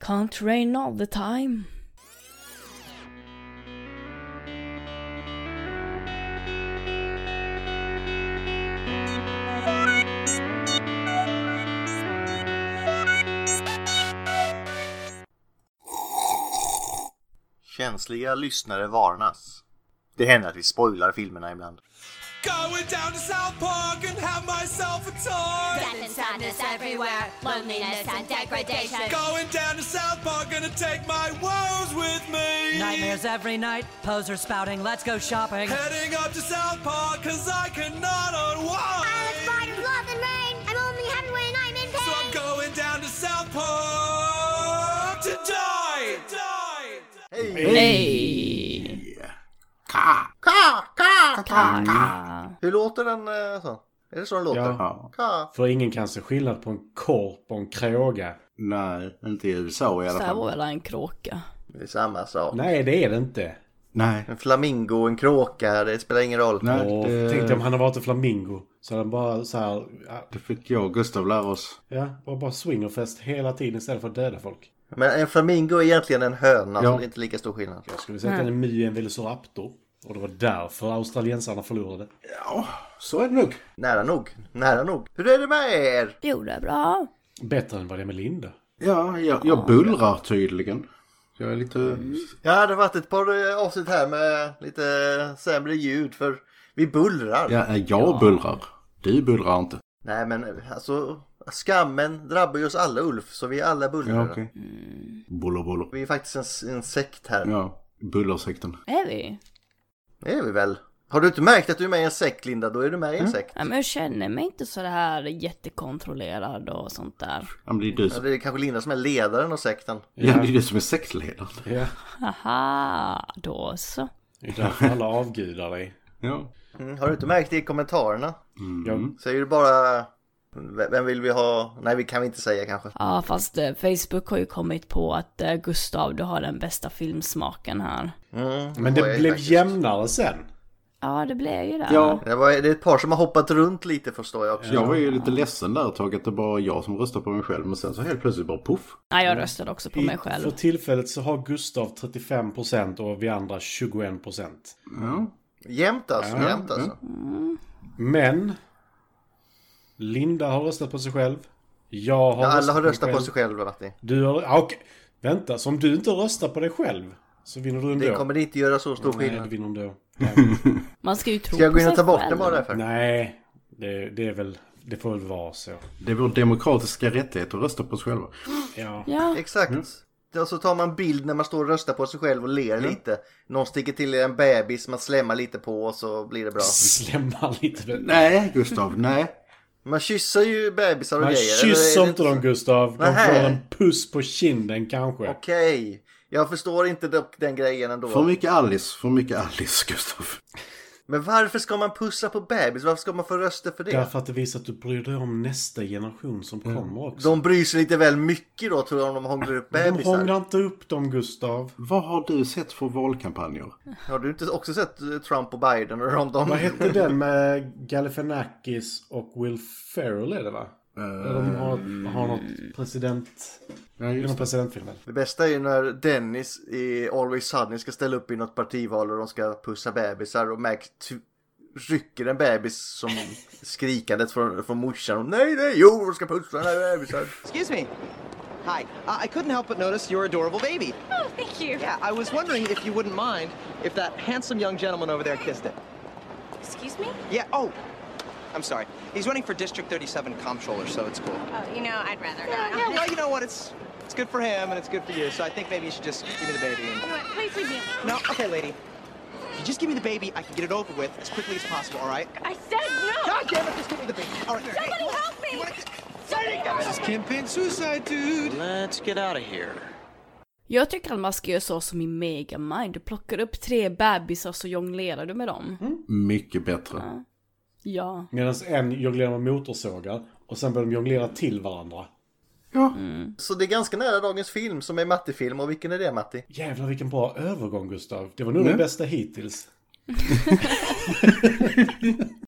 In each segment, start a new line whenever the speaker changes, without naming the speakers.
Can't rain all the time.
Känsliga lyssnare varnas. Det händer att vi spoilar filmerna ibland.
Going down to South Park and have myself a time.
Death and sadness everywhere, loneliness and degradation.
Going down to South Park, gonna take my woes with me.
Nightmares every night, posers spouting, let's go shopping.
Heading up to South Park, cause I cannot
Alex
unwind.
Barton, love and rain. I'm only happy when I'm in
So I'm
pain.
going down to South Park to die. To die.
Hej!
Ka! Ka! Ka! Ka!
Ka.
Hur låter den eh, så? Är det så den låter?
Ja.
Ka!
För ingen kan se skillnad på en korp och en kråga.
Nej, inte i USA i alla
Så här
fall.
var väl en kråka.
Det är samma sak.
Nej, det är det inte.
Nej.
En flamingo, en kråka, det spelar ingen roll.
Nej,
Och
det,
Tänk dig om han hade varit en flamingo. Så hade han bara så här... ja,
det fick jag och Gustav lära oss.
Ja, var bara swingerfest hela tiden istället för att döda folk.
Men en flamingo är egentligen en höna, så
Ja.
det är inte lika stor skillnad.
Skulle vi säga att den är my en velociraptor. Och det var därför australiensarna förlorade.
Så är det nog.
Nära nog, nära nog. Hur är det med er?
Jo, det är bra.
Bättre än vad det är med Linda.
Ja, jag, jag bullrar tydligen. Jag är lite...
Ja, det har varit ett par eh, avsnitt här med lite sämre ljud, för vi bullrar.
Ja, eh, jag bullrar. Du bullrar inte.
Nej, men alltså, skammen drabbar ju oss alla, Ulf, så vi är alla bullrare.
Ja, Mm. okej. Buller, buller.
Vi är faktiskt en, en sekt här.
Ja, bullersekten.
Är vi?
Det är vi väl. Har du inte märkt att du är med i en sekt, Linda? Då är du med i en sekt.
Ja, men jag känner mig inte så det här jättekontrollerad och sånt där.
Ja, men det är du
Ja,
som,
det är kanske Linda som är ledaren av sekten.
ja, det är, du som är sektledaren.
Ja.
Haha, då så.
Det är därför alla avgudar dig.
Ja.
Mm, har du inte märkt det i kommentarerna?
Mm.
Jag,
Säger du bara... "V- Vem vill vi ha? Nej, vi kan vi inte säga kanske.
Ja, fast eh, Facebook har ju kommit på att eh, Gustav, du har den bästa filmsmaken här.
Mm,
men
har
det
jag
blev
faktiskt.
jämnare sen.
Ja, det blev ju det.
Ja.
Det, var, det är ett par som har hoppat runt lite förstår jag också.
Jag var ju lite ledsen där ett tag att det bara jag som röstar på mig själv. Men sen så helt plötsligt bara poff.
Nej, jag röstade också på mig själv.
För tillfället så har Gustav 35% och vi andra 21%.
Ja.
Jämt alltså,
Ja,
jämt
ja.
alltså.
Men Linda har röstat på sig själv. Jag har
Ja, alla har röstat på sig själva Matti.
Du har... Ah, okej. Vänta, så om du inte röstar på dig själv så vinner du ändå.
Det kommer inte göra så stor
Nej, du
skillnad.
vinner ändå.
Man ska ju tro
Ska jag
på
gå in och
sig
ta bort
själv.
det bara därför?
Nej, det, det är väl... Det får väl vara så.
Det är vår demokratiska rättighet att rösta på oss själva.
Ja.
Ja,
Exakt. Och så tar man bild när man står och röstar på sig själv och ler lite. Någon sticker till en bebis, man slämmar lite på och så blir det bra.
Slämma lite.
Nej, Gustav, nej.
Man kysser ju bebisar och
Man
grejer. eller
kysser
är det
inte dem Gustav. De
Nähä.
får en puss på kinden kanske.
Okej. Jag förstår inte dock den grejen ändå.
För mycket Alice, för mycket Alice, Gustav.
Men varför ska man pussa på bebis? Varför ska man få röster för det?
Därför att det visar att du bryr dig om nästa generation som
Mm.
kommer också.
De bryr sig lite väl mycket då tror jag om de hånglar upp
De
bebisar.
hånglar inte upp dem Gustav.
Vad har du sett för valkampanjer?
Har du inte också sett eh, Trump och Biden och de, de...
Vad hette den med Galifianakis och Will Ferrell är det va? Där de har, har något president...
Ja,
Inom presidentfilmen.
Det bästa är ju när Dennis i Always Sunny ska ställa upp i något partival och de ska pussa bebisar och Mac t- rycker en bebis som skrikandet från, från morsan. Och, nej, nej, jo, de ska pussa den här bebisen.
Excuse me. Hi. Uh, I couldn't help but notice your adorable baby.
Oh, thank you.
Yeah, I was wondering if you wouldn't mind if that handsome young gentleman over there kissed it.
Excuse me?
Yeah, oh, I'm sorry. He's running for District 37 comptroller, so it's cool.
Oh, you know, I'd rather not.
Well, you know what? It's it's good for him and it's good for you, so I think maybe you should just give me the baby. And...
Please leave me alone.
No, okay, lady. If you just give me the baby, I can get it over with as quickly as possible, all right?
I said
God damn it, just give me the baby. All right, here, hey,
Somebody
hold on.
help me!
You wanna get-
Somebody help
This is campaign suicide, dude. Let's get out of here.
jag tycker att man ska göra så som i Megamind. Du plockar upp tre bebisar så jonglerar du med dem.
Mm.
Mycket bättre.
Ja.
Medan en jonglerar med motorsågar och sen börjar de jonglera till varandra.
Ja.
Så det är ganska nära dagens film som är Matti-film. Och vilken är det Matti?
Jävlar vilken bra övergång Gustav. Det var nog den bästa hittills.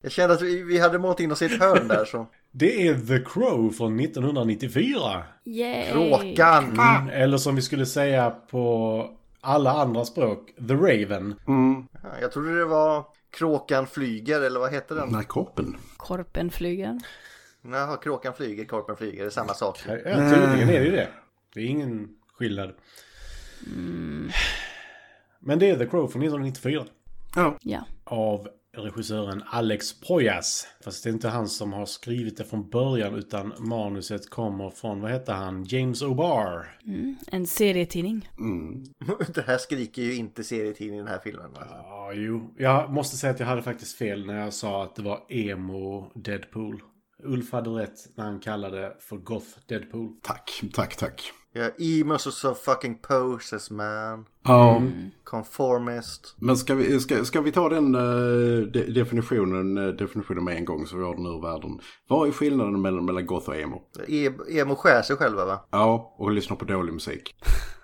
Jag kände att vi, vi hade målat in oss i ett hörn där så.
Det är The Crow från 1994.
Yay!
Råkan!
Eller som vi skulle säga på alla andra språk, The Raven.
Ja, Jag trodde det var Kråkan flyger eller vad heter den?
Nej, korpen.
Korpen flyger.
Jaha, Kråkan flyger, Korpen flyger, det är samma sak.
Ja, tydligen är det ju det. Det är ingen skillnad. Men det är The Crow från 1994.
Ja.
Av regissören Alex Poyas. Fast det är inte han som har skrivit det från början utan manuset kommer från, vad heter han, James O'Barr.
En serietidning.
Det här skriker ju inte serietidning i den här filmen. Alltså.
Ja, jo. Jag måste säga att jag hade faktiskt fel när jag sa att det var emo Deadpool. Ulf hade rätt när han kallade det för Goth Deadpool.
Tack, tack, tack.
Ja, emos och så fucking poses man.
Ja,
Conformist.
men ska vi, ska, ska vi ta den eh, de, definitionen, eh, definitionen med en gång så vi har den ur världen. Vad är skillnaden mellan, mellan goth och emo?
E- emo skär sig själva va?
Ja, och lyssna på dålig musik.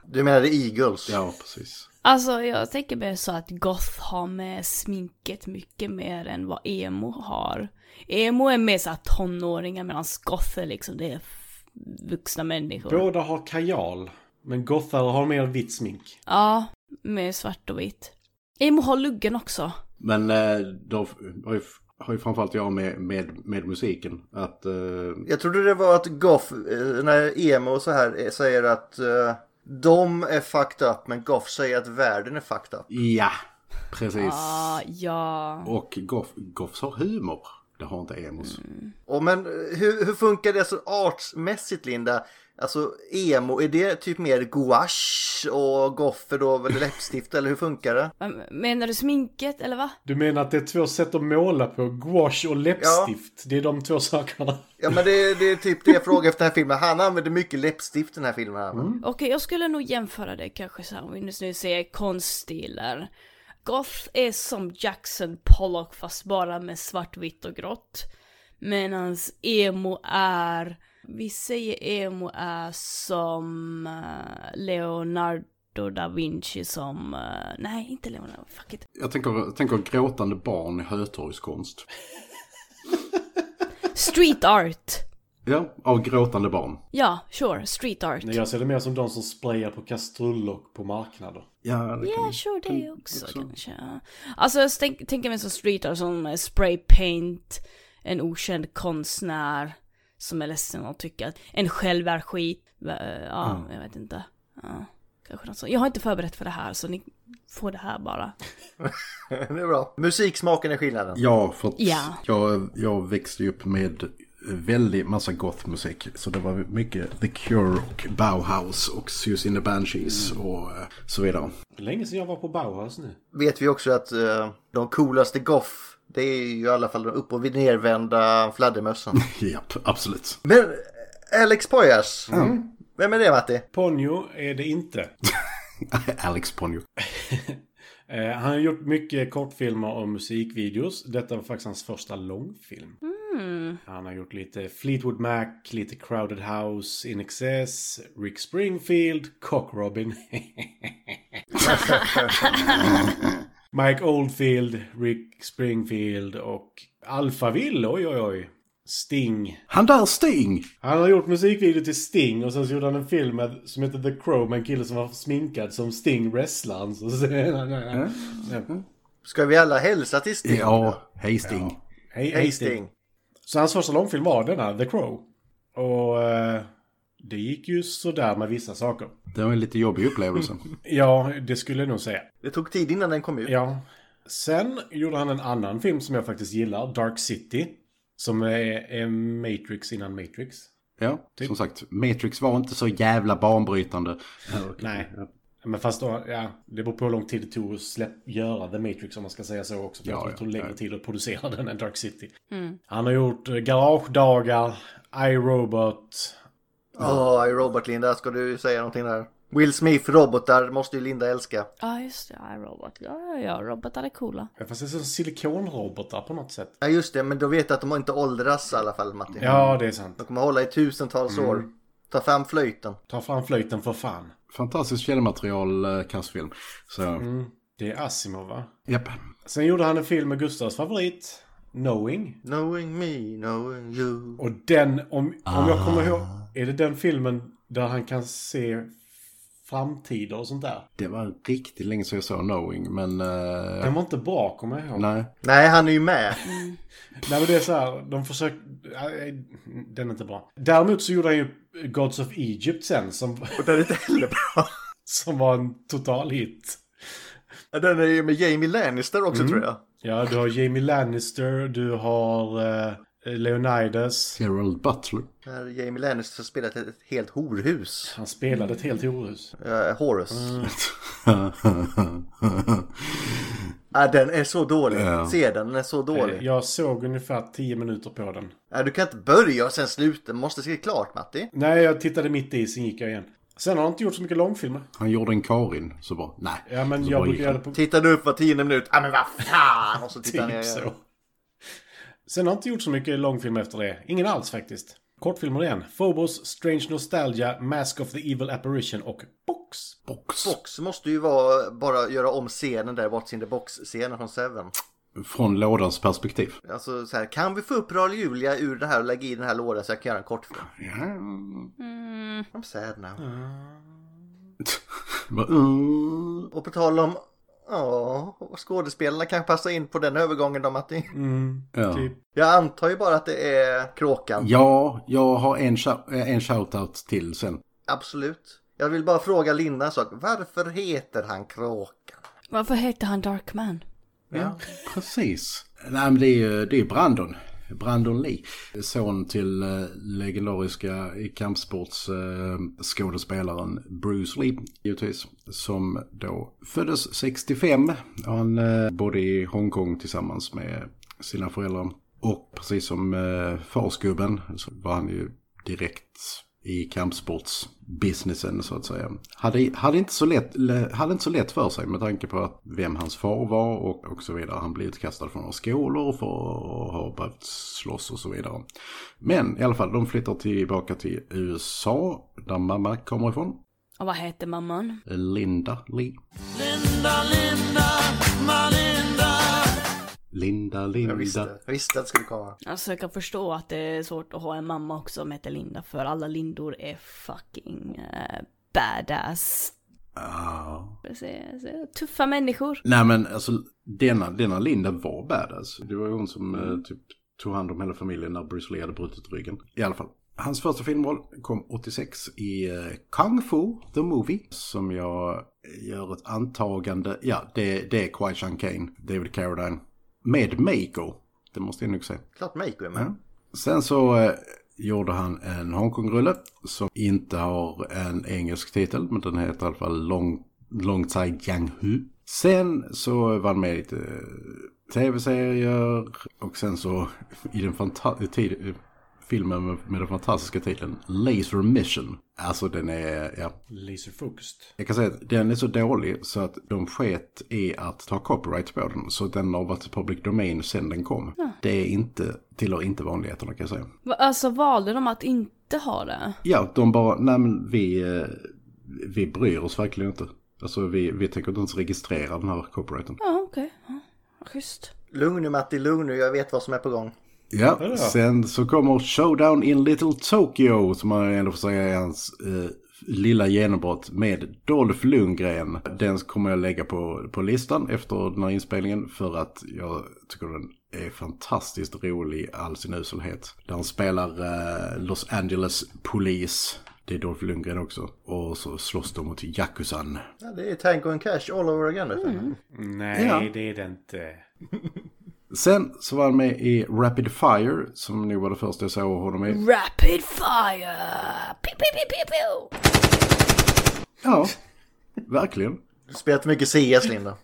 Du menade Eagles?
Ja, precis.
Alltså jag tänker mer så att goth har med sminket mycket mer än vad emo har. Emo är mer såhär tonåringar medan goth är liksom det är f- vuxna människor.
Båda har kajal. Men gothare har mer vitt smink.
Ja, mer svart och vitt. Emo har luggen också.
Men eh, då f- har ju, f- har ju framförallt jag med, med, med musiken. Att eh,
Jag trodde det var att Goff, eh, när emo och så här eh, säger att eh, de är fucked up men Goff säger att världen är fucked up.
Ja, precis.
Ja, ja.
Och Goff, Goffs har humor. Det har inte Emos.
Och men eh, hur, hur funkar det så artsmässigt Linda? Alltså emo, är det typ mer gouache och Goff är då väl läppstift eller hur funkar det?
Men- Menar du sminket eller va?
Du menar att det är två sätt att måla på? Gouache och läppstift? Det är de två sakerna.
Ja men det, det är typ det jag frågar efter den här filmen. Han använder mycket läppstift i den här filmen. här, va?
Okej, jag skulle nog jämföra det kanske så här, om vi nu nu säger konststilar. Goth är som Jackson Pollock fast bara med svartvitt och grått. Medan emo är, vi säger emo är som eh, Leonardo da Vinci som, eh, nej inte Leonardo, fuck it.
Jag tänker, jag tänker gråtande barn i Hötorgskonst.
Street art!
Ja, av gråtande barn.
Ja, sure, street art.
Nej, Jag ser det mer som de som sprayar på kastruller och på marknader.
Ja, det
Ja,
kan...
sure, det också kanske. ja. Alltså, jag tänk- tänker mig som street art, som eh, spray paint, en okänd konstnär som är ledsen och tycker att en själv är skit. Va- eh, Ja, jag vet inte. Ja, kanske något sånt. Jag har inte förberett för det här, så ni får det här bara.
Det är bra. Musiksmaken är skillnaden.
ja för att
Ja.
Jag, jag växte ju upp med väldigt massa gothmusik. Så det var mycket The Cure och Bauhaus och Susie and the Banshees och eh, så vidare.
Länge sedan jag var på Bauhaus nu.
vet vi också att eh, de coolaste Goff, det är ju i alla fall de upp och nervända fladdermössan.
Japp, absolut.
Men eh, Alex Poyas, Mm. vem är det Matti?
Ponyo är det inte.
Alex Ponyo.
Eh, han har gjort mycket kortfilmer och musikvideos. Detta var faktiskt hans första långfilm. Han har gjort lite Fleetwood Mac, lite Crowded House, In Excess, Rick Springfield, Cock Robin. Mike Oldfield, Rick Springfield och Alphaville, oj oj oj. Sting.
Han där Sting!
Han har gjort musikvideo till Sting och sen så gjorde han en film med, som heter The Crow med en kille som var sminkad som Sting wrestlaren. Så säger han,
Ska vi alla hälsa till Sting?
Ja, hej Sting.
Hej,
Hej Sting.
Så hans första långfilm var denna, The Crow. Och eh, det gick ju sådär med vissa saker.
Det var en lite jobbig upplevelse.
Ja, det skulle jag nog säga.
Det tog tid innan den kom ut.
Ja. Sen gjorde han en annan film som jag faktiskt gillar, Dark City. Som är, är Matrix innan Matrix.
Ja, som sagt. Matrix var inte så jävla banbrytande.
Nej. Men fast då, ja, det beror på hur lång tid det tog att släpp, göra The Matrix om man ska säga så också. För
Ja,
jag tror
ja,
det tog längre
ja.
tid att producera den än Dark City. Han har gjort eh, Garagedagar, I, Robot,
Åh, i Robot Linda, ska du säga någonting där? Will Smith, robotar, måste ju Linda älska.
Ja, just det. Ja, robot. Ja, ja, ja, robotar är coola.
Ja, Fast det är som silikonrobotar på något sätt.
Ja just det, men då vet jag att de inte åldras i alla fall Matti.
Ja, det är sant.
De kommer hålla i tusentals år. Ta fram flöjten.
Ta fram flöjten för fan.
Fantastiskt källmaterial, eh, Kassfilm. Så,
Mm. Det är Asimov, va?
japp.
Sen gjorde han en film med Gustavs favorit. Knowing.
Knowing me, knowing you.
Och den, om, om jag kommer ihåg, är det den filmen där han kan se framtider och sånt där?
Det var riktigt länge sedan jag såg Knowing, men... eh,
Den var inte bra, kommer jag ihåg.
nej.
Nej, han är ju med.
Nej men det är så här, de försöker... nej, Den är inte bra. Däremot så gjorde han ju Gods of Egypt sen som,
Och den är inte heller bra.
som var en total hit.
Den är ju med Jamie Lannister också tror jag.
Ja, du har Jamie Lannister, du har eh, Leonidas.
Gerald Butler.
Där Jamie Lannister har spelat ett ett helt horhus.
Han spelade ett helt horhus.
Uh, Horus. Ah, den är så dålig. Se den, den är så dålig.
Eh, Jag såg ungefär 10 minuter på den.
Ah, du kan inte börja och sen sluta. Du måste se klart Matti.
Nej, jag tittade mitt i, sen gick jag igen. Sen har han inte gjort så mycket långfilmer.
Han gjorde en Karin, så bara nej.
Ja, men
så
jag
bara gick
brukar göra
han.
det på
Tittar du upp var tionde minut. Ah men vad fan! Och så tittar
typ
jag.
så. Sen har han inte gjort så mycket långfilmer efter det. Ingen alls faktiskt. Kortfilmer igen. Phobos, Strange Nostalgia, Mask of the Evil Apparition och Box.
Box.
Box måste ju vara bara göra om scenen där, What's in the box-scenen från Seven.
Från lådans perspektiv.
Alltså så här, kan vi få upp Raul Julia ur det här och lägga i den här lådan så jag kan göra en kortfilm? I'm sad now.
Mm.
Bara, "Mm."
Och på tal om, ja, skådespelarna kan passa in på den övergången då Matti.
Mm.
Ja.
Typ.
Jag antar ju bara att det är Kråkan.
ja, jag har en, shou- eh, en shoutout till sen.
Absolut. Jag vill bara fråga Linda en sak. Varför heter han Kråkan?
Varför heter han Darkman?
Precis. Nej, men det är ju det är Brandon. Brandon Lee. Son till eh, legendariska kampsportsskådespelaren eh, skådespelaren Bruce Lee, givetvis. Som då föddes 65. Han eh, bodde i Hongkong tillsammans med sina föräldrar. Och precis som eh, farsgubben så var han ju direkt i kampsportsbusinessen så att säga. Hade, hade, inte så lätt, le- hade inte så lätt för sig med tanke på att vem hans far var och, och så vidare. Han blev utkastad från några skolor för att ha behövt slåss och så vidare. Men i alla fall, de flyttar tillbaka till USA där mamma kommer ifrån.
Och vad heter mamman?
Linda Lee. Linda, Linda,
Jag
Linda.
visste, jag visste att det skulle komma.
Alltså jag kan förstå att det är svårt att ha en mamma också som heter Linda för alla Lindor är fucking eh, badass.
Ja.
Precis. Tuffa människor.
Nej men alltså denna, denna Linda var badass. Det var ju hon som eh, typ, tog hand om hela familjen när Bruce Lee hade brutit ryggen. I alla fall. Hans första filmroll kom 86 i eh, Kung Fu, The Movie. Som jag eh, gör ett antagande, ja det, det är Kwai Chang Kane, David Carradine. Med Mako, det måste jag nog säga.
Klart Meiko är med.
Sen så eh, gjorde han en Hongkong-rulle som inte har en engelsk titel, men den heter i alla fall Long, Long Tsai Jiang Hu. Sen så var han med i lite eh, tv-serier och sen så i den fanta- tid- eh, filmen med, med den fantastiska titeln Laser Mission. Alltså den är, ja,
Laserfocused.
jag kan säga att den är så dålig så att de sket i att ta copyright på den. Så den har varit public domain sedan den kom. Det är inte, tillhör inte vanligheterna kan jag säga.
Va- Alltså valde de att inte ha det?
Ja, de bara, nej men vi, eh, vi bryr oss verkligen inte. Alltså vi, vi tänker inte ens registrera den här copyrighten.
Ja, okej. Ja, schysst.
Lugn nu Matti, lugn nu. Jag vet vad som är på gång.
Ja, sen så kommer Showdown in Little Tokyo som man ändå får säga är hans eh, lilla genombrott med Dolph Lundgren. Den kommer jag lägga på, på listan efter den här inspelningen för att jag tycker den är fantastiskt rolig i all sin uselhet. Där han spelar eh, Los Angeles Police. Det är Dolph Lundgren också. Och så slåss de mot Yakuzan.
Ja, det är Tango and Cash all over again. Mm.
Nej,
Ja.
det är det inte.
Sen så var han med i Rapid Fire som nog var det första jag såg honom i.
Rapid fire! Pew, pew, pew, pew, pew.
Ja, verkligen.
Du har spelat mycket CS Linda.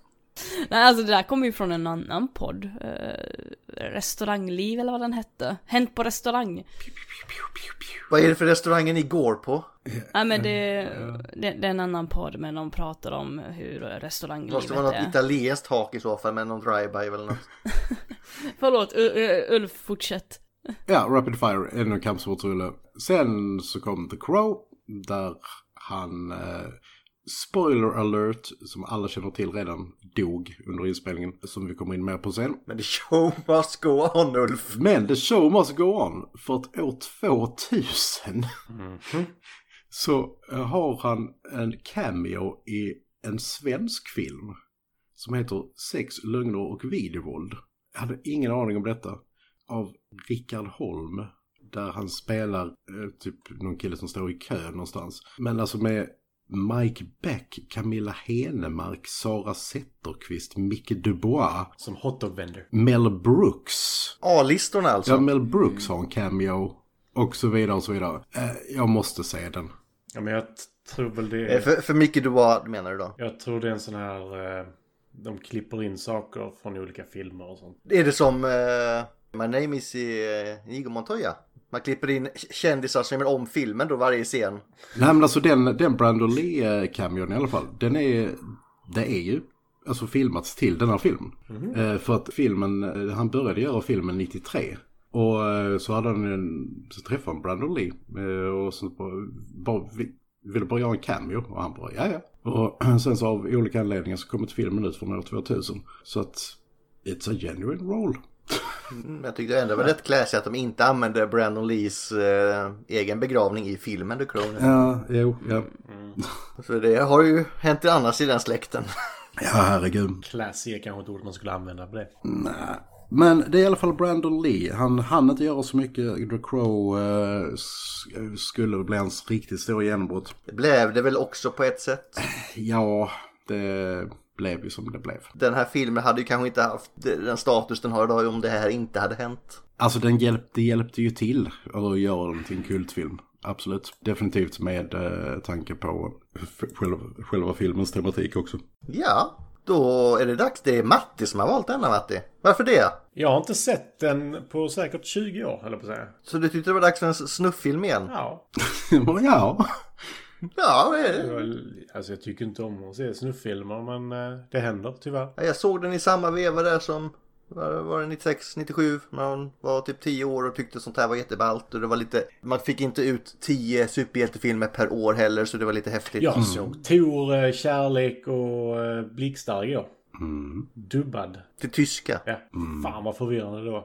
Nej, alltså det där kommer ju från en annan podd. Eh, restaurangliv eller vad den hette. Hänt på restaurang.
Vad är det för restaurangen ni går på?
Ja men det, det, det är en annan podd men de pratar om hur
Det
restauranglivet
måste vara något
är.
italienskt hak i så fall med någon drive-by eller något.
Förlåt, U- U- Ulf fortsätt.
Ja, Rapid Fire, ännu en kampsportsrulle. Sen så kom The Crow, där han eh, spoiler alert, som alla känner till redan, dog under inspelningen, som vi kommer in mer på sen.
Men the show must go on Ulf.
Men the show must go on. För att år 2000 så eh, har han en cameo i en svensk film som heter Sex, lögner och videovåld. Jag hade ingen aning om detta. Av Rickard Holm. Där han spelar eh, typ någon kille som står i kö någonstans. Men alltså med Mike Beck, Camilla Henemark, Sara Zetterqvist, Micke Dubois,
Som hotdog vendor.
Mel Brooks.
A-listorna alltså.
Ja, Mel Brooks har en cameo. Och så vidare och så vidare. Eh, jag måste se den.
Ja, men jag t- tror väl det
Eh,
är...
För, för Micke Dubois menar du då?
Jag tror det är en sån här... eh, De klipper in saker från olika filmer och sånt.
Är det som eh, My name is eh, Inigo Montoya? Man klipper in k- kändisar som gör om filmen då varje scen.
Nej men alltså den, den Brandon Lee-cameon i alla fall. Den är, det är ju alltså filmats till den här filmen. Eh, för att filmen, eh, han började göra filmen 93. Och eh, så hade han en, så träffade han Brandon Lee. Eh, och så bara, bara vi, ville bara göra en cameo. Och han bara, ja ja. Och sen så av olika anledningar så kom inte filmen ut från år 2000. Så att, it's a genuine role.
Men jag tyckte ändå det var rätt classy att de inte använde Brandon Lees eh, egen begravning i filmen The Crown.
Ja, jo, ja.
För det har ju hänt det annars i den släkten.
Ja, herregud.
Classy är kanske ett ord man skulle använda på det.
Men det är i alla fall Brandon Lee. Han hann inte göra så mycket. The Crow eh, s- skulle bli hans riktigt stora genombrott.
Det blev det väl också på ett sätt.
Ja, det blev ju som det blev.
Den här filmen hade ju kanske inte haft den status den har idag om det här inte hade hänt.
Alltså den hjälpte, hjälpte ju till att göra den till en kultfilm. Absolut. Definitivt med eh, tanke på f- själva, själva filmens tematik också.
Ja, då är det dags. Det är Matti som har valt denna Matti. Varför det?
Jag har inte sett den på säkert 20 år, höll jag på att säga.
Så du tyckte det var dags för en snufffilm igen?
Ja.
ja.
Ja, det är det.
Jag- Alltså jag tycker inte om att se snufffilmer, men eh, det händer tyvärr.
Ja, Jag såg den i samma veva där som var var det 96, 97 när hon var typ 10 år och tyckte sånt här var jätteballt och det var lite man fick inte ut 10 superhjältefilmer per år heller så det var lite häftigt.
Jag såg Tor, eh, Kärlek och eh, Blixtar igår. Dubbad.
Till tyska.
Ja. Fan vad förvirrande det var.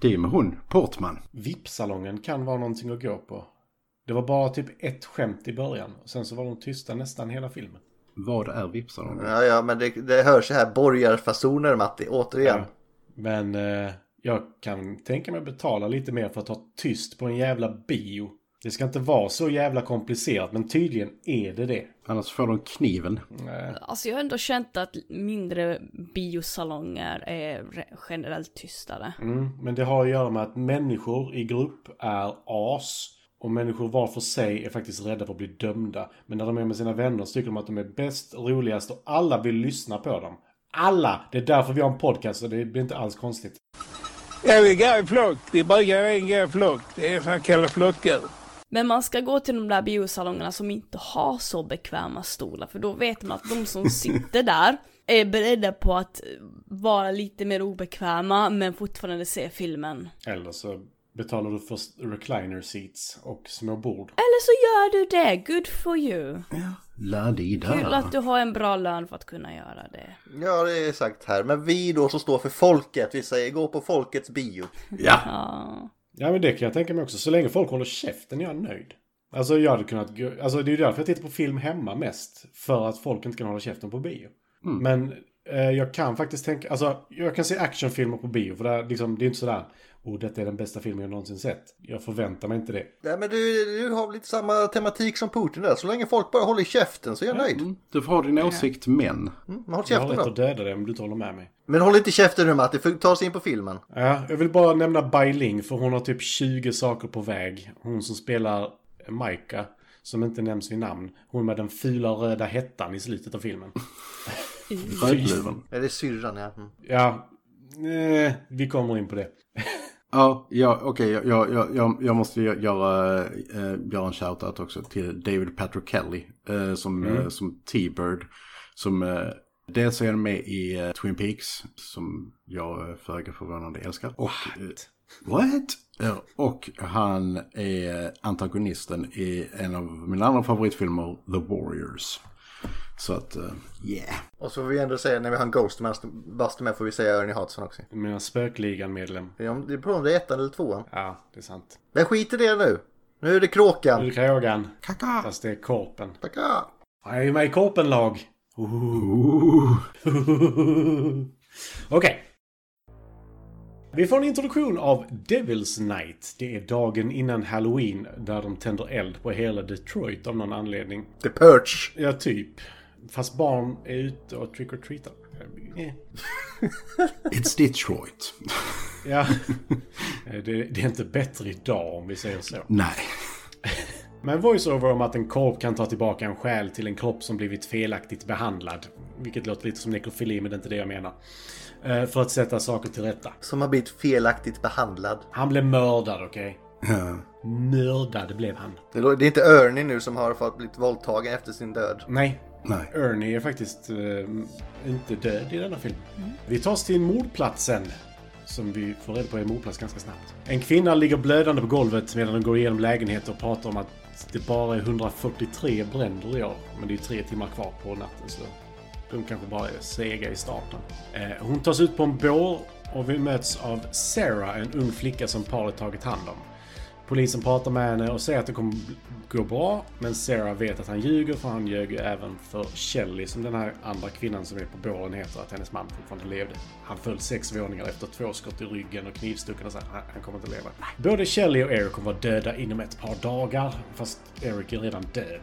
Det är med hon, Portman.
VIP-salongen kan vara någonting att gå på. Det var bara typ ett skämt i början. och Sen så var de tysta nästan hela filmen.
Vad är vipsar hon?
Ja, ja, men det, det hörs ju här borgarfasoner Matti, återigen.
Men eh, jag kan tänka mig betala lite mer för att ha tyst på en jävla bio. Det ska inte vara så jävla komplicerat, men tydligen är det det.
Annars får de kniven.
Alltså jag har ändå känt att mindre biosalonger är re- generellt tystare.
Mm, men det har att göra med att människor i grupp är as. Och människor var för sig är faktiskt rädda för att bli dömda. Men när de är med sina vänner så tycker de att de är bäst, roligast och alla vill lyssna på dem. Alla! Det är därför vi har en podcast och det blir inte alls konstigt.
Ja, vi går i flock. Det brukar vara en god flock. Det är fan kalla flockar.
Men man ska gå till de där biosalongerna som inte har så bekväma stolar för då vet man att de som sitter där är beredda på att vara lite mer obekväma men fortfarande se filmen.
Eller så betalar du för recliner seats och små bord.
Eller så gör du det, good for you.
La di
Kul
da.
att du har en bra lön för att kunna göra det.
Ja, det är sagt här. Men vi då som står för folket, vi säger gå på folkets bio.
Ja.
Ja.
Ja men det kan jag tänka mig också. Så länge folk håller käften är jag nöjd. Alltså jag hade kunnat... gå- Alltså det är ju därför jag tittar på film hemma mest. För att folk inte kan hålla käften på bio. Men eh, jag kan faktiskt tänka... Alltså jag kan se actionfilmer på bio. För det, är liksom, det är inte sådär... Oh, detta är den bästa filmen jag någonsin sett. Jag förväntar mig inte det.
Nej, men du, du har väl lite samma tematik som Putin där. Så länge folk bara håller käften så är jag nöjd.
Du får ha din åsikt, men.
Men håll
Mm. Jag har
käften
rätt att
då.
döda dig om du inte håller med mig.
Men håll inte käften nu Matti, för ta oss in på filmen.
Ja, jag vill bara nämna Bai Ling för hon har typ 20 saker på väg. Hon som spelar Maika, som inte nämns vid namn. Hon med den fula röda hettan i slutet av filmen.
Rödluven.
Är det syrran ja? Mm.
Ja, eh, vi kommer in på det.
Ja, ja okej, jag- jag, jag, jag, jag måste gö- göra, eh, göra en shoutout också till David Patrick Kelly eh, som, eh, som T-Bird. Som eh, dels är han med i eh, Twin Peaks, som jag eh, föga förvånande älskar. Och eh, What? Eh, Och han är antagonisten i en av mina andra favoritfilmer, The Warriors. Så att, eh, yeah.
Och så får vi ändå säga när vi har en Ghostbuster med får vi säga Ernie Hudson också.
Du menar spökligan-medlem?
Det är om- det är på om det är ettan eller tvåan.
Ja, det är sant.
Men skit i det nu! Nu är det
Nu är
kråkan!
det Krågan.
Kaka!
Fast det är Korpen.
Kaka!
Han är ju med i Korpen-lag.
Ooh.
Okej. Vi får en introduktion av Devil's Night. Det är dagen innan Halloween där de tänder eld på hela Detroit av någon anledning.
The Purge!
Ja, typ. Fast barn är ute och trick or treatar. Eh.
It's Detroit.
Ja. Eh, Det, det är inte bättre idag om vi säger så.
Nej.
Men voiceover om att en korp kan ta tillbaka en själ till en kropp som blivit felaktigt behandlad. Vilket låter lite som nekrofili, men det är inte det jag menar. Eh, För att sätta saker till rätta.
Som har blivit felaktigt behandlad.
Han blev mördad, okej?
Ja.
Mördad blev han.
Det lå- det är inte Ernie nu som har fått blivit våldtagen efter sin död.
Nej.
Nej.
Ernie är faktiskt eh, inte död i denna film. Vi tar oss till mordplatsen. Som vi får reda på är en mordplats ganska snabbt. En kvinna ligger blödande på golvet medan de går igenom lägenheten och pratar om att det bara är 143 bränder i år. Men det är tre timmar kvar på natten så de kanske bara är sega i starten. Eh, hon tas ut på en bår och vi möts av Sarah, en ung flicka som paret tagit hand om. Polisen pratar med henne och säger att det kommer gå bra. Men Sarah vet att han ljuger för han ljög ju även för Shelley som den här andra kvinnan som är på båren heter att hennes man fortfarande levde. Han föll sex våningar efter två skott i ryggen och knivstucken och så här, han, han kommer inte leva. Både Shelley och Eric kommer vara döda inom ett par dagar. Fast Eric är redan död.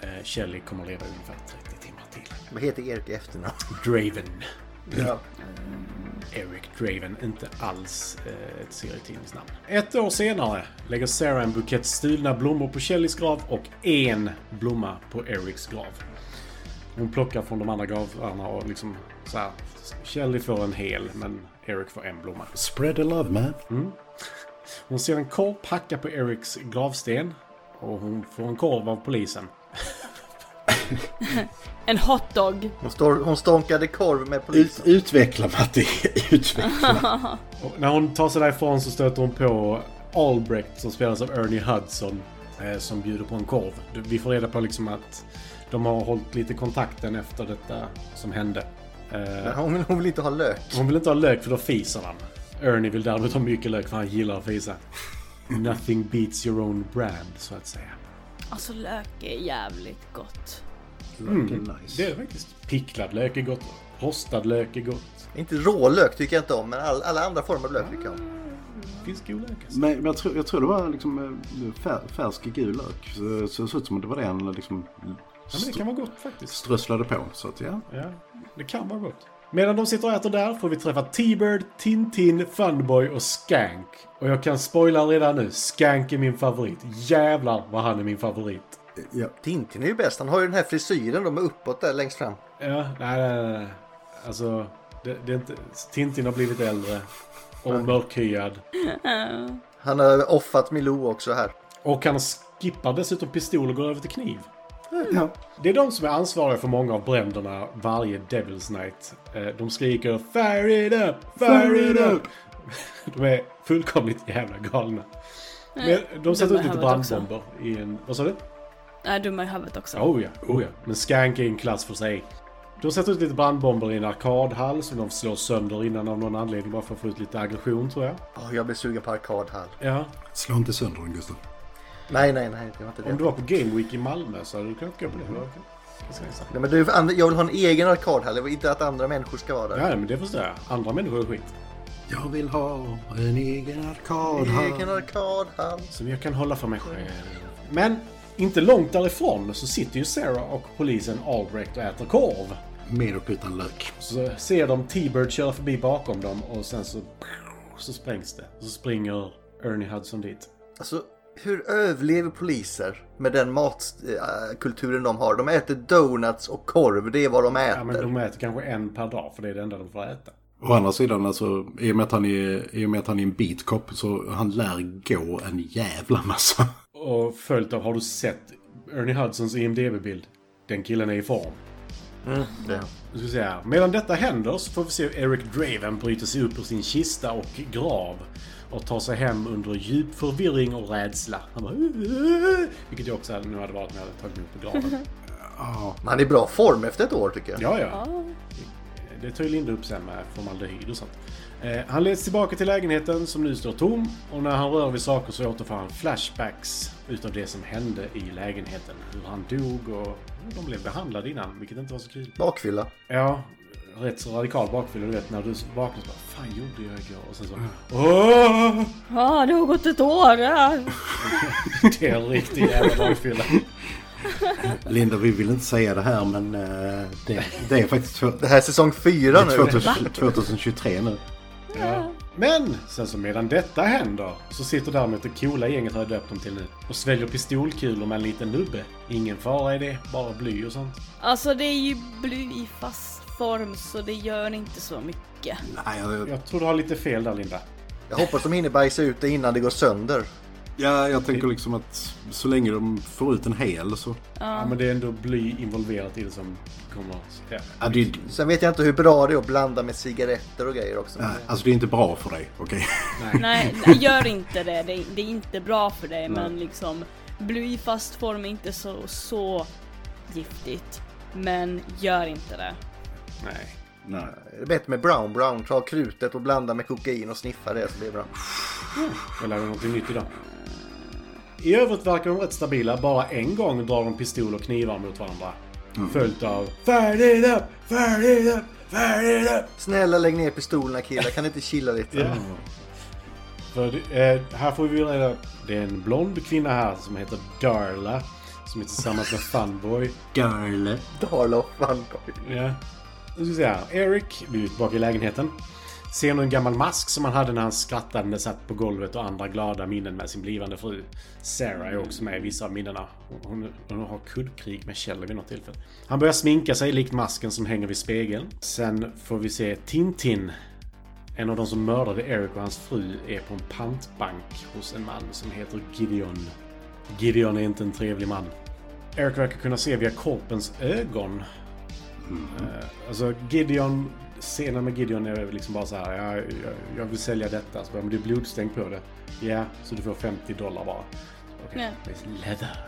Eh, Shelley kommer leva ungefär 30 timmar till.
Vad heter Erik i efternamn?
Draven.
Ja.
Eric Draven, inte alls eh, ett serietidningsnamn. Ett år senare lägger Sarah en bukett stulna blommor på Kellys grav och en blomma på Erics grav. Hon plockar från de andra gravarna och liksom så här. Kelly får en hel, men Eric får en blomma.
Spread the love, man.
Hon ser en korp hacka på Erics gravsten och hon får en korv av polisen.
En hotdog.
Hon, står, hon stånkade korv med
Ut,
polisen.
utveckla, Matti. Utveckla.
Och när hon tar sig därifrån så stöter hon på Albrecht som spelas av Ernie Hudson. eh, Som bjuder på en korv. Vi får reda på liksom att de har hållit lite kontakten efter detta som hände. Eh,
Hon, vill- hon vill inte ha lök.
Hon vill inte ha lök för då fiser han. Ernie vill däremot ha mycket lök för han gillar att fisa. Nothing beats your own brand, så att säga.
Alltså lök är jävligt gott.
Det är faktiskt. Picklad lök är gott. Rostad lök är gott.
Inte rålök tycker jag inte om, men all, alla andra former av lök tycker jag om.
Det finns god lök alltså.
Men men jag tror, jag tror det var liksom eh, fär, färsk gul lök. Så- Så det såg ut som att det var det han liksom
Ja, men det kan vara gott faktiskt.
strösslade på. Så att ja.
Ja, det kan vara gott. Medan de sitter och äter där får vi träffa T-Bird, Tintin, Funboy och Skank. Och jag kan spoila redan nu, Skank är min favorit. Jävlar vad han är min favorit.
ja.
Tintin är ju bäst. Han har ju den här frisyren de är uppåt där längst fram.
Ja, nej, nej, nej. nej. Alltså, det, det är inte... Tintin har blivit äldre. Och mörkhyad.
Han har offat Milou också här.
Och han skippar dessutom pistol och går över till kniv.
ja.
Det är de som är ansvariga för många av bränderna varje Devil's Night. Eh, De skriker “Fire it up! Fire it up!” De är fullkomligt jävla galna. Men de sätter
dumma
ut lite
huvudet också.
brandbomber i en... Vad sa du?
Nej, dumma Äh, i huvudet också.
Oh ja, oh ja. Men Skank är en klass för sig. De sätter ut lite brandbomber i en arkadhall som de slår sönder innan av någon anledning bara för att få ut lite aggression tror jag.
Åh, jag blir sugen på arkadhall.
Ja.
Slå inte sönder den, Gustav.
Nej, nej, nej. Det var inte det.
Om du var på Game Week i Malmö så hade du kunnat gå på det. Det var okej. Ganska nice.
Nej, men du, and- jag vill ha en egen arkadhall. Jag vill inte att andra människor ska vara där.
Ja, men det förstår jag. Andra människor är skit.
Jag vill ha en egen arkad
Egen arkadhall.
Som jag kan hålla för mig själv. Men inte långt därifrån så sitter ju Sarah och polisen Albrecht och äter korv.
Med och utan lök.
Så ser de T-Bird köra förbi bakom dem och sen så... Så sprängs det. Så springer Ernie Hudson dit.
Alltså, hur överlever poliser med den matkulturen de har? De äter donuts och korv. Det är vad de äter.
Ja, men de äter kanske en per dag för det är det enda de får äta.
Å andra sidan, alltså, i, och med att han är, i och med att han är en beatcop så han lär gå en jävla massa.
Och följt av, har du sett Ernie Hudsons IMDB-bild? Den killen är i form.
Det.
Nu ska vi se här. Medan detta händer så får vi se hur Eric Draven bryter sig upp ur sin kista och grav och tar sig hem under djup förvirring och rädsla. Han bara... "Åh!" Vilket jag också hade- nu hade varit när jag hade tagit mig upp ur graven.
Men Han är i bra form efter ett år tycker jag.
Ja, ja. Det tar ju Linda upp sen med formaldehyd och sånt. Eh, Han leds tillbaka till lägenheten som nu står tom och när han rör vid saker så återfår han flashbacks utav det som hände i lägenheten. Hur han dog och hur de blev behandlade innan, vilket inte var så kul.
Bakfylla.
Ja, rätt så radikal bakfylla. Du vet när du vaknar så bara Fan gjorde jag igår? Och sen så... Åh!
Ja, det har gått ett år! Ja.
Det är en riktig jävla bakfylla.
Linda, vi vill inte säga det här men eh, det, det är faktiskt två-
Det här är säsong fyra nu.
2000, 2023 nu.
Ja. Men sen så medan detta händer så sitter däremot det coola gänget har jag döpt dem till nu och sväljer pistolkulor med en liten nubbe. Ingen fara i det, bara bly och sånt.
Alltså det är ju bly i fast form så det gör inte så mycket.
Nej, jag,
Jag tror du har lite fel där Linda.
Jag hoppas de hinner bajsa ut det innan det går sönder.
jag, jag tänker liksom att så länge de får ut en hel så...
Ja, men det är ändå bly involverat i det som kommer. Ja.
Ja, det, är-
Sen vet jag inte hur bra det är att blanda med cigaretter och grejer också.
nej, alltså det är inte bra för dig, okej?
Nej, nej, gör inte det. Det är, det är inte bra för dig men liksom bly i fast form är inte så, så giftigt. Men gör inte det.
Nej.
Nej.
Det är bättre med brown brown. Ta krutet och blanda med kokain och sniffa det så blir det bra.
Jag lärde mig någonting nytt idag. I övrigt verkar de rätt stabila. Bara en gång drar de pistol och knivar mot varandra. Följt av Fire it up! Fire it up! Fire it up!
Snälla lägg ner pistolerna killar. Kan ni inte chilla lite?
Ja. För, eh, här får vi reda Det är en blond kvinna här som heter Darla. Som är tillsammans med Funboy.
Girl.
Darla och Funboy.
Ja. Nu ska vi se här. Eric, vi är tillbaka i lägenheten. Ser nu en gammal mask som han hade när han skrattade när han satt på golvet och andra glada minnen med sin blivande fru. Sarah är också med i vissa av minnena. Hon, hon har kuddkrig med Kjell vid något tillfälle. Han börjar sminka sig likt masken som hänger vid spegeln. Sen får vi se Tintin. En av de som mördade Eric och hans fru är på en pantbank hos en man som heter Gideon. Gideon är inte en trevlig man. Eric verkar kunna se via korpens ögon Alltså Gideon, scenen med Gideon är väl liksom bara så här. Jag, jag, jag vill sälja detta. Så bara, men det är blodstänk på det. Ja, så du får 50 dollar bara. Okej, okay. leather.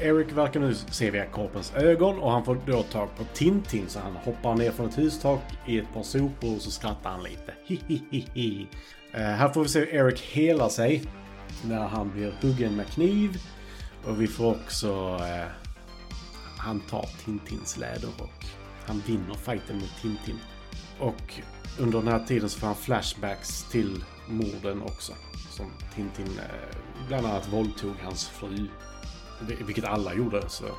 Eric verkar nu se via korpens ögon och han får då tag på Tintin så han hoppar ner från ett hustak i ett par sopor och så skrattar han lite. Hihihihi. Eh, här får vi se hur Eric helar sig när han blir huggen med kniv. Och vi får också eh, han tar Tintins läderrock. Han vinner fighten mot Tintin. Och under den här tiden så får han flashbacks till morden också. Som Tintin eh, bland annat våldtog hans fru. Vil- Vilket alla gjorde. Så. eh.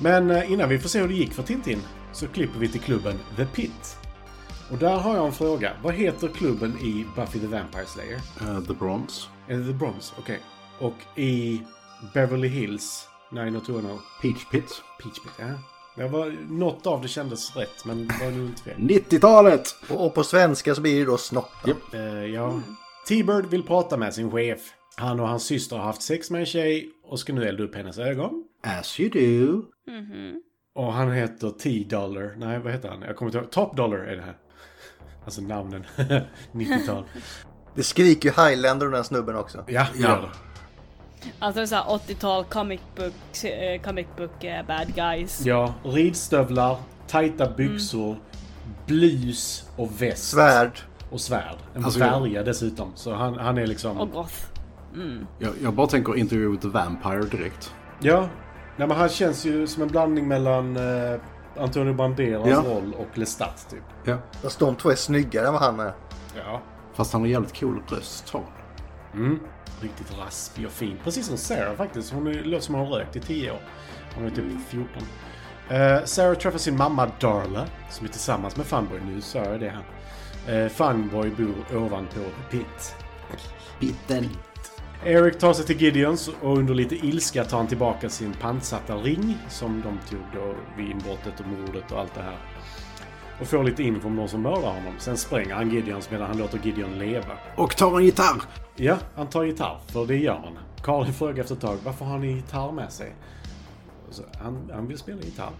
Men eh, innan vi får se hur det gick för Tintin så klipper vi till klubben The Pit. Och där har jag en fråga. Vad heter klubben i Buffy the Vampire Slayer?
Eh, the Bronze.
Är det The Bronze? Okej. Och i Beverly Hills 90210?
Peach Pit.
Peach Pit, ja. Jag var, något av det kändes rätt, men var nog inte
Mm.
fel.
90-talet!
Och, och på svenska så blir det då snoppar.
Eh, ja. T-Bird vill prata med sin chef. Han och hans syster har haft sex med en tjej och ska nu elda upp hennes ögon.
As you do.
Och han heter T-Dollar. Nej, vad heter han? Jag kommer inte ihåg. Top Dollar är det här. Alltså namnen. 90-tal.
Det skriker ju highlander och den snubben också.
Ja, det gör det.
Alltså det är såhär 80-tal comic book, eh, comic book eh, bad guys.
Ja, ridstövlar, tajta byxor, blus och väst.
Svärd.
Och svärd. En
Alltså,
färja dessutom. Så han, han är liksom...
Och goth.
Jag, jag bara tänker Interview with the Vampire direkt.
Ja. Nej, men han känns ju som en blandning mellan eh, Antonio Banderas
Ja.
roll och Lestat, typ.
Ja.
Fast de två är snyggare än vad han är.
Ja.
Fast han har jävligt cool röst har han.
Riktigt raspig och fin. Precis som Sarah faktiskt. Hon är, låter som hon har rökt i 10 år. Hon är typ 14. Eh, Sarah träffar sin mamma Darla, som är tillsammans med Funboy. Nu sa jag det här. Eh, Funboy bor ovanpå The Pit.
Bitten.
Eric tar sig till Gideons och under lite ilska tar han tillbaka sin pantsatta ring som de tog då vid inbrottet och mordet och allt det här. Och får lite info om de som mördar honom. Sen spränger han Gideons medan han låter Gideon leva.
Och tar en gitarr!
Ja, han tar gitarr, för det gör han. Karin frågar efter ett tag varför har ni gitarr med sig? Så han, han vill spela gitarr.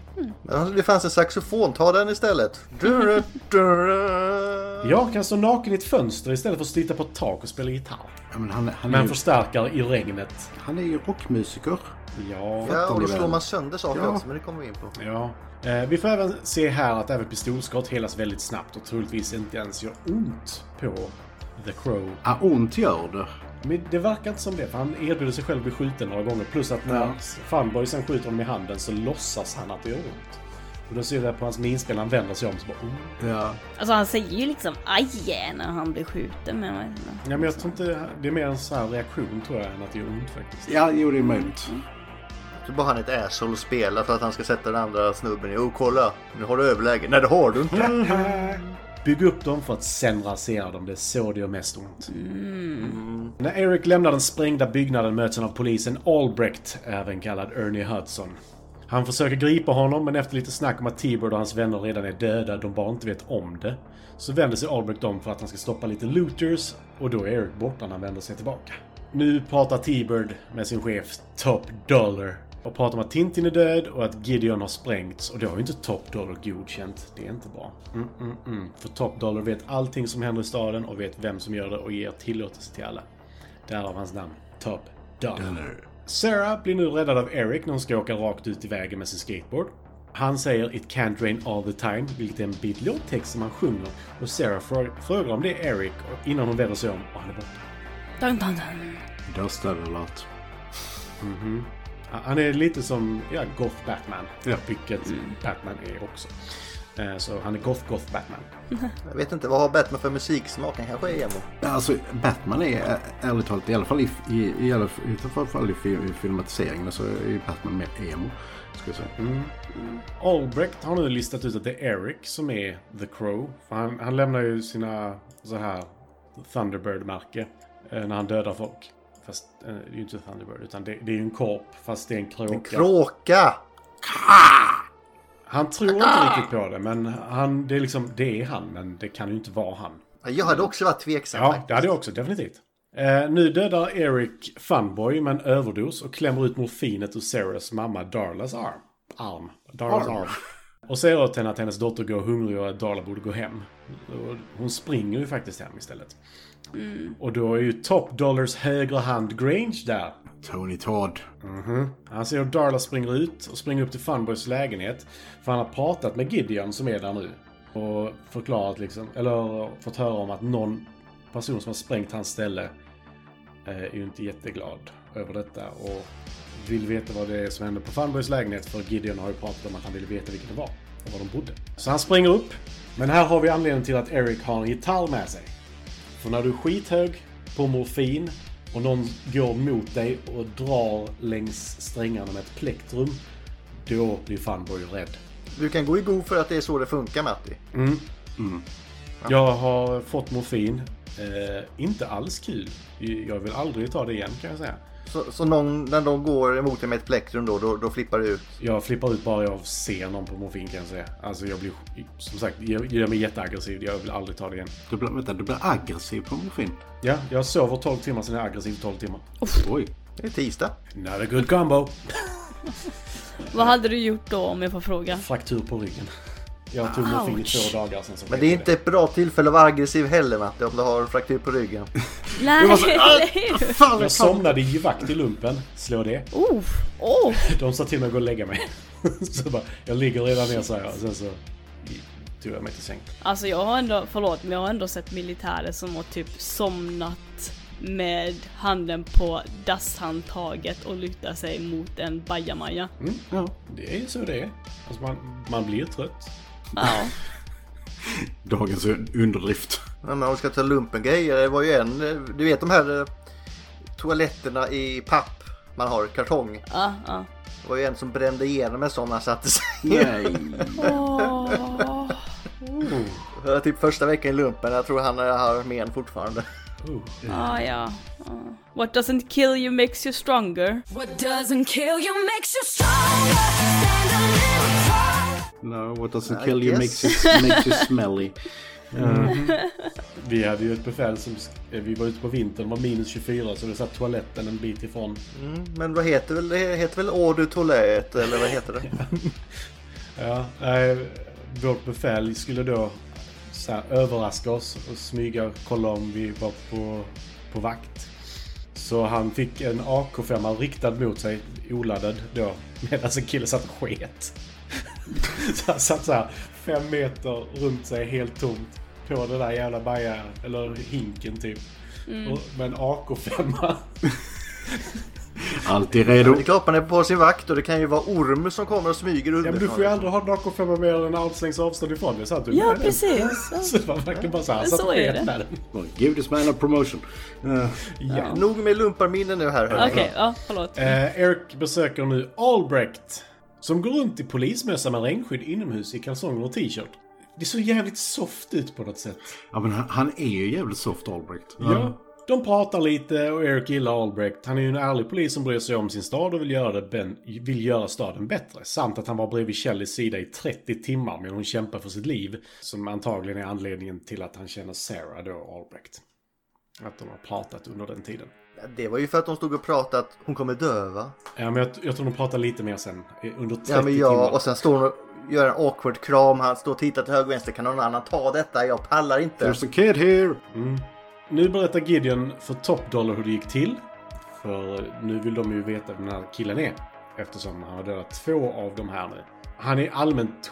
Ja, Det fanns en saxofon, ta den istället. Dura, dura.
Jag kan stå naken i ett fönster istället för att sitta på ett tak och spela gitarr.
Ja, men han, han,
Med
är
en
ju,
förstärkare i regnet.
han är ju rockmusiker.
Ja.
Ja, och då
ni väl.
slår man sönder saker
Ja.
också, men det kommer vi in på.
ja. Eh, vi får även se här att även pistolskott helas väldigt snabbt och troligtvis inte ens gör ont på The Crow.
Ah, ont gör det.
Men det verkar inte som det, för han erbjuder sig själv att bli skjuten några gånger. Plus att när
Ja.
Funboy sen skjuter honom i handen så låtsas han att det gör ont. Och då ser vi det på hans minspel, han vänder sig om så bara... "Oh."
Ja.
Alltså han säger ju liksom aj när han blir skjuten men jag vet inte.
Ja, men jag tror inte... Det är mer en sån här reaktion tror jag än att det gör ont faktiskt.
ja, jo det är möjligt.
Så bara han är ett asshole och spelar för att han ska sätta den andra snubben i. Oh, kolla! Nu har du överläge. Nej, det har du inte.
Bygg upp dem för att sen rasera dem. Det är så det gör mest ont. När Eric lämnar den sprängda byggnaden möts han av polisen Albrecht, även kallad Ernie Hudson. Han försöker gripa honom, men efter lite snack om att T-Bird och hans vänner redan är döda, de bara inte vet om det, så vänder sig Albrecht om för att han ska stoppa lite looters, och då är Eric borta när han vänder sig tillbaka. Nu pratar T-Bird med sin chef Top Dollar och pratar om att Tintin är död och att Gideon har sprängts och det har ju inte Top Dollar godkänt. Det är inte bra. Mm, mm, mm. För Top Dollar vet allting som händer i staden och vet vem som gör det och ger tillåtelse till alla. Därav hans namn. Top Dollar. Sarah blir nu räddad av Eric när hon ska åka rakt ut i vägen med sin skateboard. Han säger “It can't rain all the time”, vilket är en bit låttext som han sjunger. Och Sarah frå- frågar om det är Eric och- innan hon vänder sig om och han är borta.
Dun, dun, dun.
Dust alert.
Ja, Han är lite som ja, Goth Batman.
Ja.
Vilket Batman är också. Eh, Så han är Goth Goth Batman.
Jag vet inte, vad har Batman för musiksmak? Han kanske är emo.
Alltså Batman är ä- ärligt talat, i alla fall i, i, i, alla, i, alla fall i, fi- i filmatiseringen så är ju Batman mer emo. Ska jag säga.
Albrecht har nu listat ut att det är Eric som är The Crow. För han, han lämnar ju sina så här Thunderbird-märke eh, när han dödar folk. Fast eh, det är ju inte Thunderbird utan det, det är ju en korp fast det är en kråka.
Kråka!
Han tror inte riktigt på det men han, det är liksom, det är han men det kan ju inte vara han.
Jag hade också varit tveksam.
Ja,
faktiskt.
det hade jag också, definitivt. Eh, nu dödar Eric Funboy med en överdos och klämmer ut morfinet ur Sarahs mamma Darlas arm. Arm. Darlas arm. Och säger åt henne att hennes dotter går hungrig och att Darla borde gå hem. Och Hon springer ju faktiskt hem istället. Och då är ju Top Dollars högra hand Grange där.
Tony Todd.
Han ser hur Darla springer ut och springer upp till Funboys lägenhet. För han har pratat med Gideon som är där nu. Och förklarat liksom, eller fått höra om att någon person som har sprängt hans ställe eh, är ju inte jätteglad över detta och vill veta vad det är som hände på Funboys lägenhet för Gideon har ju pratat om att han ville veta vilket det var och var de bodde. Så han springer upp. Men här har vi anledningen till att Eric har en gitarr med sig. För när du är skithög på morfin och någon går mot dig och drar längs strängarna med ett plektrum, då blir Funboy rädd.
Du kan gå i god för att det är så det funkar, Matti.
Jag har fått morfin. Eh, inte alls kul. Jag vill aldrig ta det igen kan jag säga.
Så, så någon, när de går emot dig med ett plektrum då, då, då flippar du ut.
Jag flippar ut bara jag ser någon på morfin kan jag säga. Alltså jag blir, som sagt, jag gör mig jätteaggressiv. Jag vill aldrig ta det igen.
Du blir, vänta, du blir aggressiv på morfin.
Ja, jag sover 12 timmar, sen är jag aggressiv 12 timmar.
Oj.
Det är tisdag.
Not a good combo.
Vad hade du gjort då om jag får fråga?
Fraktur på ryggen. Jag tog morfin i
Ouch.
två dagar sen så
Men det är inte ett bra tillfälle att vara aggressiv heller, Matti, om du har en fraktur på ryggen.
Nej, eller hur?
Fan,
Jag somnade i vakt i lumpen. Slå det.
Oh, oh.
De sa till mig att gå och lägga mig. Så bara, jag ligger redan ner så här. och Sen så tog jag mig till säng.
Alltså jag har ändå, förlåt, men jag har ändå sett militärer som har typ somnat med handen på dasshandtaget och lutar sig mot en bajamaja.
Ja.
Det är så det är. Alltså man, man blir trött.
Ja.
Dagens un- underdrift.
Ja, men hon ska ta lumpengrejer. Det var ju en, eh, du vet de här eh, toaletterna i papp man har, kartong.
Ja, ja.
Det var ju en som brände igenom en sån när han satte sig.
Nej.
Åh.
Det var typ första veckan i lumpen. Jag tror han eh, har men fortfarande.
Ah, ja. Ah. What doesn't kill you makes you stronger.
What doesn't kill you makes you stronger. Stand a little taller.
No, what doesn't
I
kill you
guess.
makes you, makes you smelly.
Vi hade ju ett befäl som... sk- eh, Vi var ute på vintern, det var minus 24 så det satt toaletten en bit ifrån.
Men vad heter väl det? heter väl Eau du Toilette eller vad heter det?
Ja, eh, vårt befäl skulle då så här, överraska oss och smyga och kolla om vi var på, på vakt. Så han fick en AK5 riktad mot sig, oladdad då, medan en kille satt och sket. så han satt så här fem meter runt sig helt tomt på den där jävla baja, eller hinken typ.
Mm.
Och, med en AK5.
Alltid redo.
Det är klart man är på sin vakt och det kan ju vara orm som kommer och smyger
Ja, men du får
underifrån.
ju aldrig ha en AK5 mer än en armslängds avstånd ifrån dig. så att du-
Ja, precis.
Så det var verkligen bara så här, han
Så
satt och
är det.
sket med den.
Give this man a promotion. Eh,
Ja.
Nog med lumparminnen nu här hörni.
Okej, ja, förlåt.
Eh, Eric besöker nu Albrecht. Som går runt i polismössa med regnskydd inomhus i kalsonger och t-shirt. Det såg jävligt soft ut på något sätt.
ja, men han, han är ju jävligt soft Albrecht.
Ja. De pratar lite och Eric gillar Albrecht. Han är ju en ärlig polis som bryr sig om sin stad och vill göra, det ben, vill göra staden bättre. Samt att han var bredvid Shellys sida i 30 timmar medan hon kämpar för sitt liv. Som antagligen är anledningen till att han känner Sarah då, Albrecht. Att de har pratat under den tiden.
Det var ju för att de stod och pratade att hon kommer dö va?
Ja, men jag, jag tror de pratar lite mer sen. eh, Under 30
Ja men ja
timmar.
och sen står hon och gör en awkward kram. Han står och tittar till höger och vänster. Kan någon annan ta detta? Jag pallar inte.
There's a kid here!
Nu berättar Gideon för Top Dollar hur det gick till. För nu vill de ju veta vem den här killen är. Eftersom han har dödat två av de här nu. Han är allmänt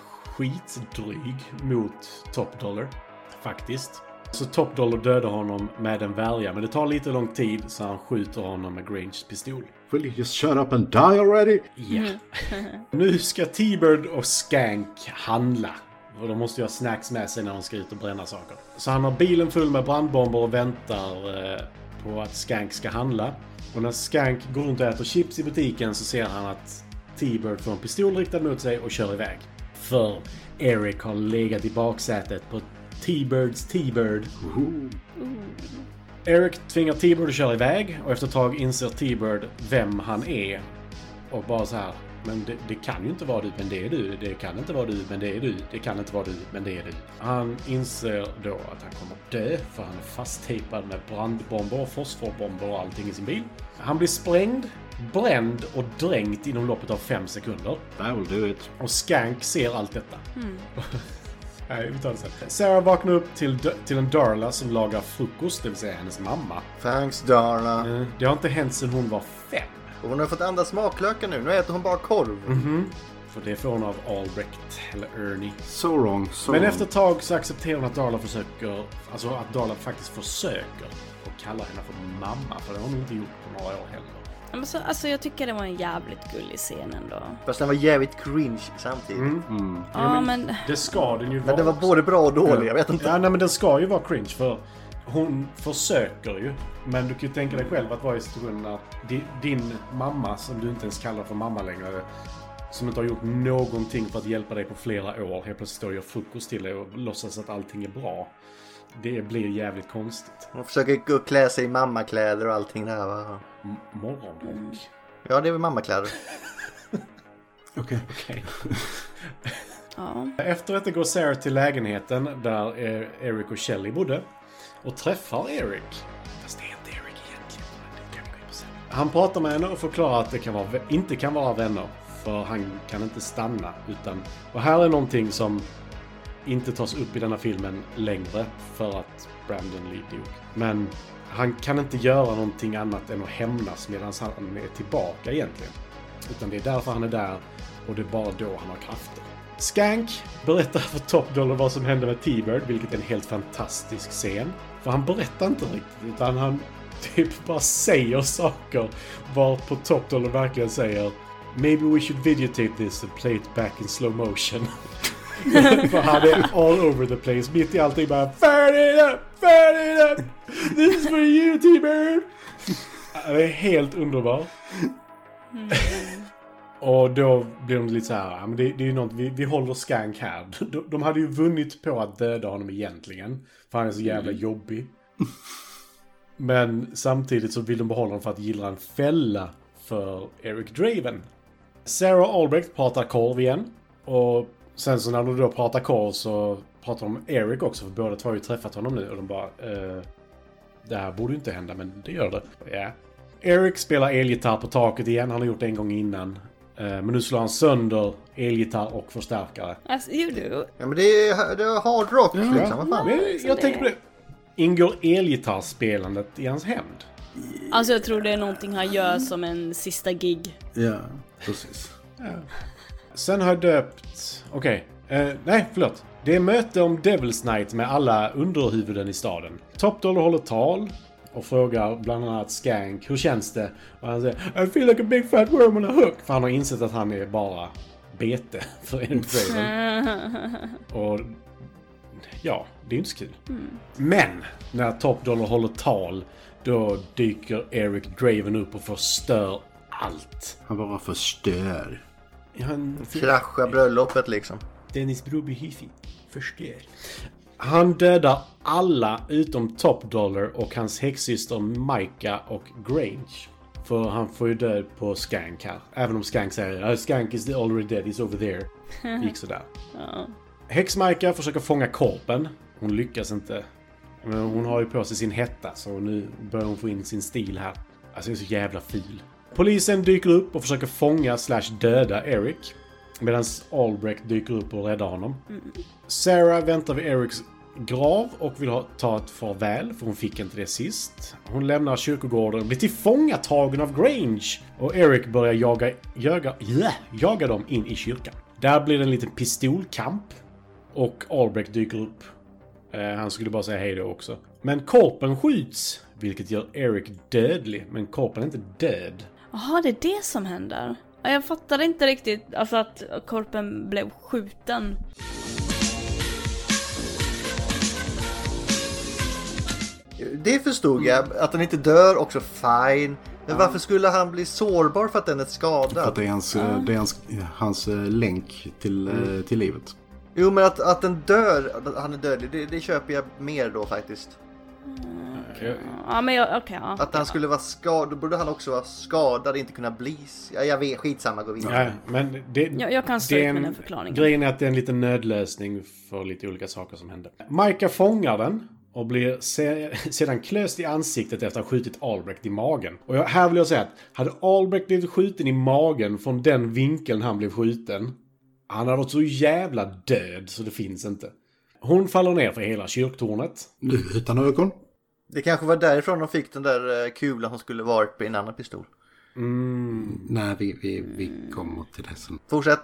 skitdryg mot Top Dollar. Faktiskt. Så Top Dollar dödar honom med en värja. Men det tar lite lång tid så han skjuter honom med Granges pistol.
Will you just shut up and die already?
Ja. Mhm. nu ska T-Bird och Skank handla. Och de måste ju ha snacks med sig när de ska ut och bränna saker. Så han har bilen full med brandbomber och väntar eh, på att Skank ska handla. Och när Skank går runt och äter chips i butiken så ser han att T-Bird får en pistol riktad mot sig och kör iväg. För Eric har legat i baksätet på T-Birds T-Bird Eric tvingar T-Bird att köra iväg och efter ett tag inser T-Bird vem han är. Och bara så här. Men det, det kan ju inte vara du, men det är du. Det kan inte vara du, men det är du. Det kan inte vara du, men det är du. Han inser då att han kommer dö för han är fasttejpad med brandbomber och fosforbomber och allting i sin bil. Han blir sprängd, bränd och dränkt inom loppet av fem sekunder.
That will do it.
Och Skank ser allt detta. Nej, vi tar det sen. Sarah vaknar upp till, d- till en Darla som lagar frukost, det vill säga hennes mamma.
Thanks Darla.
Eh, Det har inte hänt sedan hon var fem.
Och hon har fått andra smaklökar nu. Nu äter hon bara
Mm.
korv.
För det får hon av Albrecht, eller Ernie.
So wrong, so
Men
wrong.
efter ett tag så accepterar hon att Darla försöker, alltså att Darla faktiskt försöker och kallar henne för mamma, för det har hon inte gjort på några år heller.
Ja, men så, alltså jag tycker det var en jävligt gullig scen ändå.
Fast den var jävligt cringe samtidigt.
Mm.
Ja men,
Det ska den ju vara.
Men den var både bra och dålig. Jag vet inte.
Ja, nej, men den ska ju vara cringe för hon försöker ju. Men du kan ju tänka dig själv att vara i situationen att di- din mamma, som du inte ens kallar för mamma längre, som inte har gjort någonting för att hjälpa dig på flera år, helt plötsligt står och gör frukost till dig och låtsas att allting är bra. Det blir jävligt konstigt.
Hon försöker gå och klä sig i mammakläder och allting där va.
Morgonrock.
Ja det är väl mammakläder.
Okej.
Okej.
ja.
Efter detta går Sarah till lägenheten där eh, Eric och Shelley bodde och träffar Eric. Fast det är inte Eric egentligen. men det kan vi gå in på sen. Han pratar med henne och förklarar att det kan vara, inte kan vara vänner för han kan inte stanna. Utan, och här är någonting som inte tas upp i denna filmen längre för att Brandon Lee dog. Men han kan inte göra någonting annat än att hämnas medan han är tillbaka egentligen. Utan det är därför han är där och det är bara då han har krafter. Skank berättar för Top Dollar vad som hände med T-Bird, vilket är en helt fantastisk scen. För han berättar inte riktigt, utan han typ bara säger saker varpå Top Dollar verkligen säger Maybe we should videotape this and play it back in slow motion. För han är all over the place. Mitt i allting bara Fire it up! Fire it up! This is for you T-Bird! Han är helt underbar. Och då blir de lite så här, "Ja, men det, det är ju något, vi, vi håller skank här. De, de hade ju vunnit på att döda honom egentligen. För han är så jävla jobbig. Men samtidigt så vill de behålla honom för att gilla en fälla för Eric Draven. Sarah Albrecht pratar korv igen. Och sen så när de då pratar korv så pratar om Eric också, för båda två har ju träffat honom nu och de bara... Eh, det här borde ju inte hända, men det gör det. Ja. Eric spelar elgitarr på taket igen, han har gjort det en gång innan. Eh, men nu slår han sönder elgitarr och förstärkare.
Alltså, you do.
Ja men det är, det är hard rock liksom, vad fan.
Men jag tänker på det. Ingår elgitarrspelandet i hans hämnd?
Alltså jag tror det är någonting han gör som en sista gig.
Ja, precis.
Sen har jag döpt... Okej. Eh, nej, förlåt. Det är möte om Devil's Night med alla underhuvuden i staden. Top Dollar håller tal och frågar bland annat Skank hur känns det? Och han säger I feel like a big fat worm on a hook. För han har insett att han är bara bete för Entraven. och ja, det är inte så kul. Men när Top Dollar håller tal då dyker Eric Draven upp och förstör allt.
Han bara förstör.
Han
Krascha bröllopet liksom.
Dennis Broby Hifi. Förstör. Han dödar alla utom Top Dollar och hans häxsyster Micah och Grange. För han får ju död på Skank här. Även om Skank säger "Ah, Skank is already dead, he's over there. Det gick sådär. Häx-Micah försöker fånga korpen. Hon lyckas inte. Men hon har ju på sig sin hetta så nu börjar hon få in sin stil här. Alltså det är så jävla ful. Polisen dyker upp och försöker fånga slash döda Eric. Medan Albrecht dyker upp och räddar honom. Sarah väntar vid Erics grav och vill ha, ta ett farväl, för hon fick inte det sist. Hon lämnar kyrkogården och blir tillfångatagen av Grange. Och Eric börjar jaga, jaga, yeah, jaga dem in i kyrkan. Där blir det en liten pistolkamp. Och Albrecht dyker upp. Eh, han skulle bara säga hej då också. Men korpen skjuts, vilket gör Eric dödlig. Men korpen är inte död.
Jaha, det är det som händer. Ja, Jag fattade inte riktigt alltså att korpen blev skjuten.
Det förstod jag, att han inte dör också fine. Men varför skulle han bli sårbar för att den är
För att
skadad?
det är hans, eh, det är hans, hans eh, länk till, eh,
Mm.
till livet.
Jo men att, att den dör, att han är dödlig, det, det köper jag mer då faktiskt.
Eh,
Ja men jag, okej ja.
Att han skulle vara skadad, då borde han också vara skadad, inte kunna bli... Ja, jag vet, skitsamma, gå vidare.
Ja, men det,
Jag- jag kan stå
det
ut
är
med
en-
den förklaringen.
Grejen är att det är en liten nödlösning för lite olika saker som händer. Micah fångar den och blir se, sedan klöst i ansiktet efter att ha skjutit Albrecht i magen. Och jag, här vill jag säga att hade Albrecht blivit skjuten i magen från den vinkeln han blev skjuten, han hade varit så jävla död så det finns inte. Hon faller ner för hela kyrktornet.
Nu utan ögon.
Det kanske var därifrån de fick den där eh, kulan som skulle varit på en annan pistol.
Nej, vi, vi, vi kommer till det sen.
Fortsätt.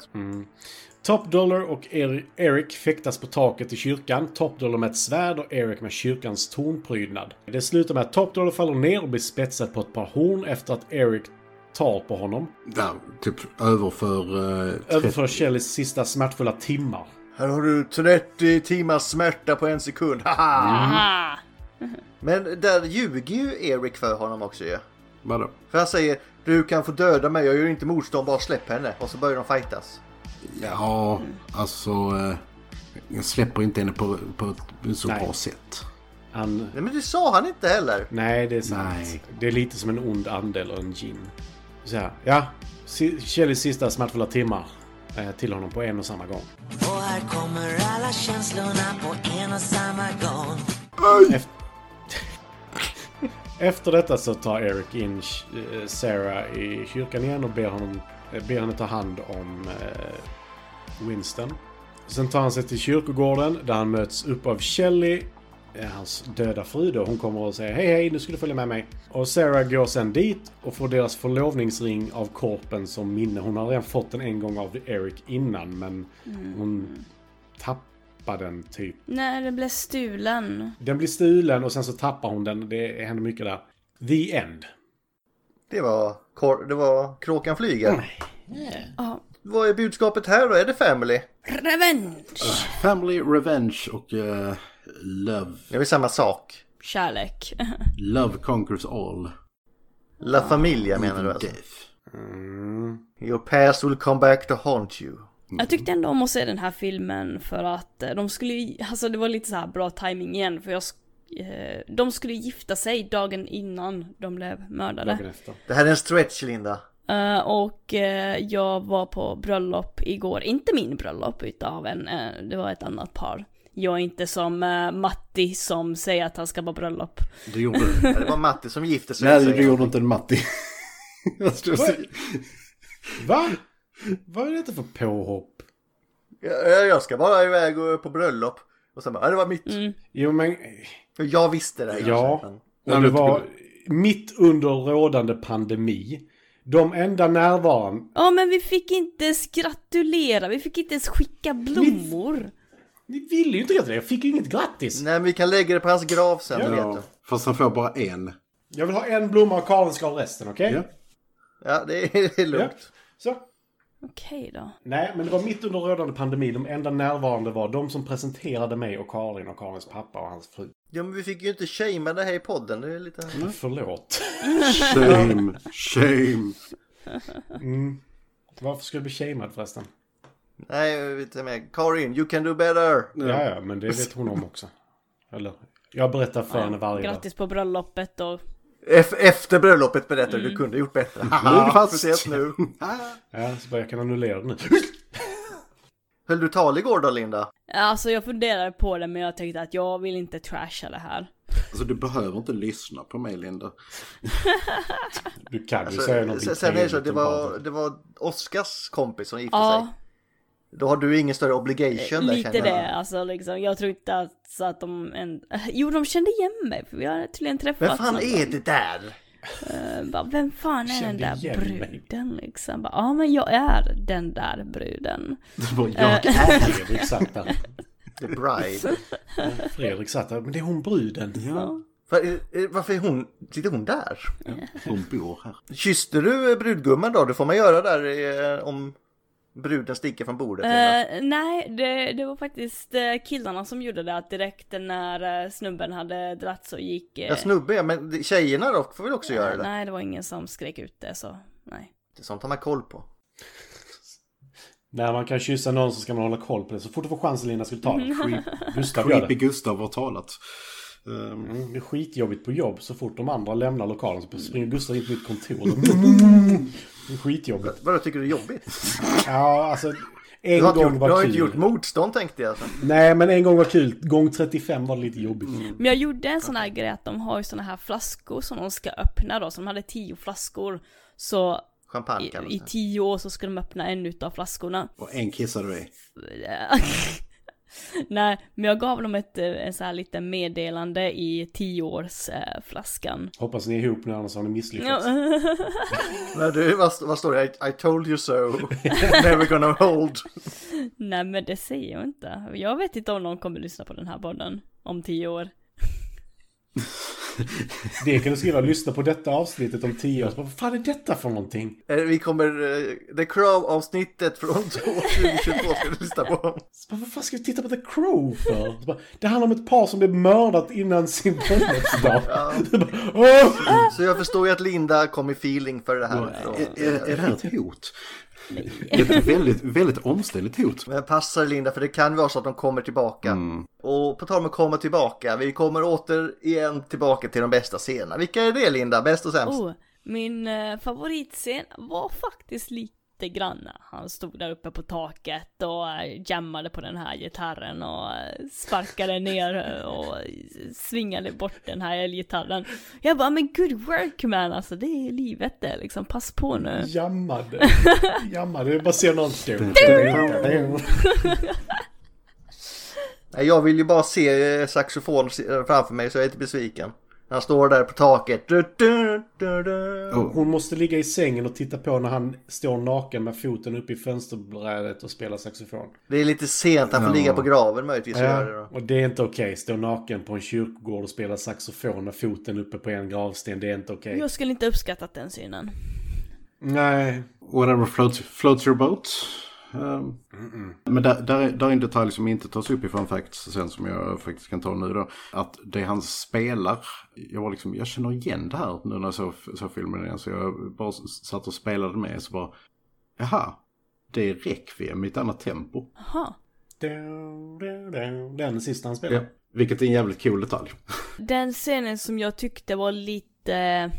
Top Dollar och Er- Eric fäktas på taket i kyrkan. Top Dollar med ett svärd och Eric med kyrkans tornprydnad. Det slutar med att Top Dollar faller ner och blir spetsad på ett par horn efter att Eric tar på honom.
Där, typ överför... Uh,
Överför Shellys sista smärtfulla timmar.
Här har du 30 timmars smärta på en sekund. Haha!
Aha!
Men där ljuger ju Erik för honom också ju.
Vadå?
För han säger du kan få döda mig, jag gör inte motstånd, bara släpp henne. Och så börjar de fightas.
Ja, alltså... eh, jag släpper inte henne på, på ett så
Nej.
bra sätt.
Han...
Nej men det sa han inte heller.
Nej, det är sant.
Nej.
Det är lite som en ond ande eller en gin. Så här, ja. Si- Shellys sista smärtfulla timmar eh, till honom på en och samma gång.
Och här kommer alla känslorna på en och samma gång.
Efter detta så tar Eric in eh, Sarah i kyrkan igen och ber, honom, eh, ber henne ta hand om eh, Winston. Sen tar han sig till kyrkogården där han möts upp av Shelley, eh, hans döda fru då. Hon kommer och säger hej hej, nu ska du följa med mig. Och Sarah går sen dit och får deras förlovningsring av korpen som minne. Hon har redan fått den en gång av Eric innan men hon tappar den typ.
Nej, den blev stulen.
Den blir stulen och sen så tappar hon den. Det händer mycket där. The end.
Det var, kor- det var kråkan flyger. Vad är budskapet här då? Är det family?
Revenge!
Family, revenge och eh, love.
Det är väl samma sak.
Kärlek.
Love conquers all.
La familia menar du alltså?
Death.
Your past will come back to haunt you.
Jag tyckte ändå om att se den här filmen för att eh, de skulle ju- alltså det var lite så här bra timing igen för jag sk- eh, de skulle gifta sig dagen innan de blev mördade.
Dagen efter.
Det här är en stretch Linda.
Eh, och eh, jag var på bröllop igår, inte min bröllop utav en, eh, det var ett annat par. Jag är inte som eh, Matti som säger att han ska på bröllop.
Det gjorde du.
Det var Matti som gifte sig.
Nej,
säger
du
jag.
gjorde inte en Matti. Jag skulle
Vad?
säga-
Va? Vad är detta för påhopp?
Jag, jag ska bara iväg och på bröllop. Och sen bara, "Ja, det var mitt.
Jo men...
Jag visste det. kanske,
Ja.
men-
Och det var mitt under rådande pandemi. De enda närvarande...
Ja men vi fick inte ens gratulera, vi fick inte ens skicka blommor.
Ni ville ju inte gratulera, jag fick ju inget grattis.
Nej, men vi kan lägga det på hans grav sen. Ja,
Ja,
vet du.
fast han får bara en.
Jag vill ha en blomma och Karin ska ha resten, okej?
Ja.
ja det är, det är
Ja.
lugnt.
Så.
Okej då.
Nej, men det var mitt under rådande pandemi. De enda närvarande var de som presenterade mig och Karin och Karins pappa och hans fru.
Ja, men vi fick ju inte shamea det här i podden. Det är lite...
Förlåt.
Shame, shame.
Varför skulle jag bli shamed förresten?
Nej, jag vet inte mer. Karin, you can do better.
Ja, ja, men det vet hon om också. Eller? Jag berättar för henne varje dag.
Grattis på bröllopet och
E- efter bröllopet berättar du, du kunde gjort bättre. nu
är det fast.
nu.
Ja, så bara jag kan annullera det nu.
Höll du tal igår då, Linda?
Alltså jag funderade på det men jag tänkte att jag vill inte trasha det här.
Alltså du behöver inte lyssna på mig Linda.
Du kan ju
Så,
säga någonting
Alltså, sen- sen är det så,
trevligt
det
om
var,
barnet.
det var Oscars kompis som gifte
Ja,
sig. Då har du ingen större obligation där,
lite
känner Alltså, jag.
det alltså liksom. Jag tror inte att, så att de en... Jo de kände igen mig för vi har tydligen träffats.
Vem fan
någon
är det där?
gång. Bara, Vem fan är den
Kände
där
igen mig.
bruden liksom? Bara, Ja men jag är den där bruden.
Det var jag.
Fredrik satt där.
The Bride.
Fredrik satt där. Men det är hon bruden.
Ja,
Var, eh, varför är hon, sitter hon där?
hon bor här.
Kysste du eh, brudgummen då? Det får man göra där eh, om bruden sticker från bordet. Linda.
Eh, nej, det, det var faktiskt eh, killarna som gjorde det. Att direkt när eh, snubben hade dratt så gick... eh,
Ja, snubbe ja, men det- tjejerna då får väl också göra det?
nej, det var ingen som skrek ut det så nej.
Det är Sånt har man koll på.
När man kan kyssa någon så ska man hålla koll på det. Så fort du får chansen Linda skulle ta
Mm.
den. Creep- Gustav gör
Creepy
det.
Gustav har talat. Ehm,
Mm, Det är skitjobbigt på jobb. Så fort de andra lämnar lokalen så springer Gustav in på mitt kontor. Det är skitjobbigt.
Vadå, tycker du det är jobbigt?
Ja, alltså. En
Du har inte
gång
gjort, du
var
har inte
kul.
gjort motstånd tänkte jag. Alltså.
Nej, men en gång var kul. Gång 35 var det lite jobbigt.
Mm.
Men jag gjorde en sån här grej att de har ju såna här flaskor som de ska öppna då. Så de hade tio flaskor. Så
Champagne kallas
i, i
det.
tio år så ska de öppna en utav flaskorna.
Och en kissade du i.
nej, men jag gav dem ett, eh, en sån här liten meddelande i tioårsflaskan. Eh, flaskan.
Hoppas ni är ihop nu, annars har ni misslyckats.
Men du, vad, vad står det? I, I told you so. Never gonna hold.
Nej men det säger jag inte. Jag vet inte om någon kommer lyssna på den här podden om tio år.
Det kan du skriva. Lyssna på detta avsnittet om 10 år. Så bara, Vad fan är detta för någonting?
Eh, Vi kommer... eh, The Crow-avsnittet från 2022 ska du lyssna på.
Så bara, Vad fan ska vi titta på The Crow för? Så bara, Det handlar om ett par som blev mördat innan sin bröllopsdag. Så bara, "Åh!"
Så jag förstår ju att Linda kom i feeling för det här. Eh, då.
Är, är, är det här ett hot? Ett väldigt, väldigt omständigt hot.
Men passa dig, Linda för det kan vara så att de kommer tillbaka.
Mm.
Och på tal om att komma tillbaka, vi kommer återigen tillbaka till de bästa scenerna. Vilka är det Linda? Bäst och sämst?
Oh, min eh, favoritscen var faktiskt lite grann. Han stod där uppe på taket och eh, jammade på den här gitarren och eh, sparkade ner eh, och eh, svingade bort den här elgitarren. Jag bara, men good work man, alltså det är livet det liksom, pass på nu.
Jammade. Jammade. Jag bara ser någon stå.
Nej, Jag vill ju bara se eh, saxofon framför mig så jag är inte besviken. Han står där på taket. Du, du, du, du.
Oh,
Hon måste ligga i sängen och titta på när han står naken med foten uppe i fönsterbrädet och spelar saxofon.
Det är lite sent, han får ligga på graven möjligtvis. och göra det då.
Och det är inte okej. Stå naken på en kyrkogård och spela saxofon med foten uppe på en gravsten. Det är inte okej.
Jag skulle inte uppskattat den synen.
Nej.
whatever floats, floats your boat. Ehm, Men där, där, är, där är en detalj som inte tas upp i Fun Facts sen som jag faktiskt kan ta nu då. Att det han spelar, jag var liksom, jag känner igen det här nu när jag såg så filmen igen. Så jag bara s- satt och spelade med så bara, jaha, det är Requiem i ett annat tempo.
Jaha.
Den sista han
Ja.
spelar.
Vilket är en jävligt cool detalj.
Den scenen som jag tyckte var lite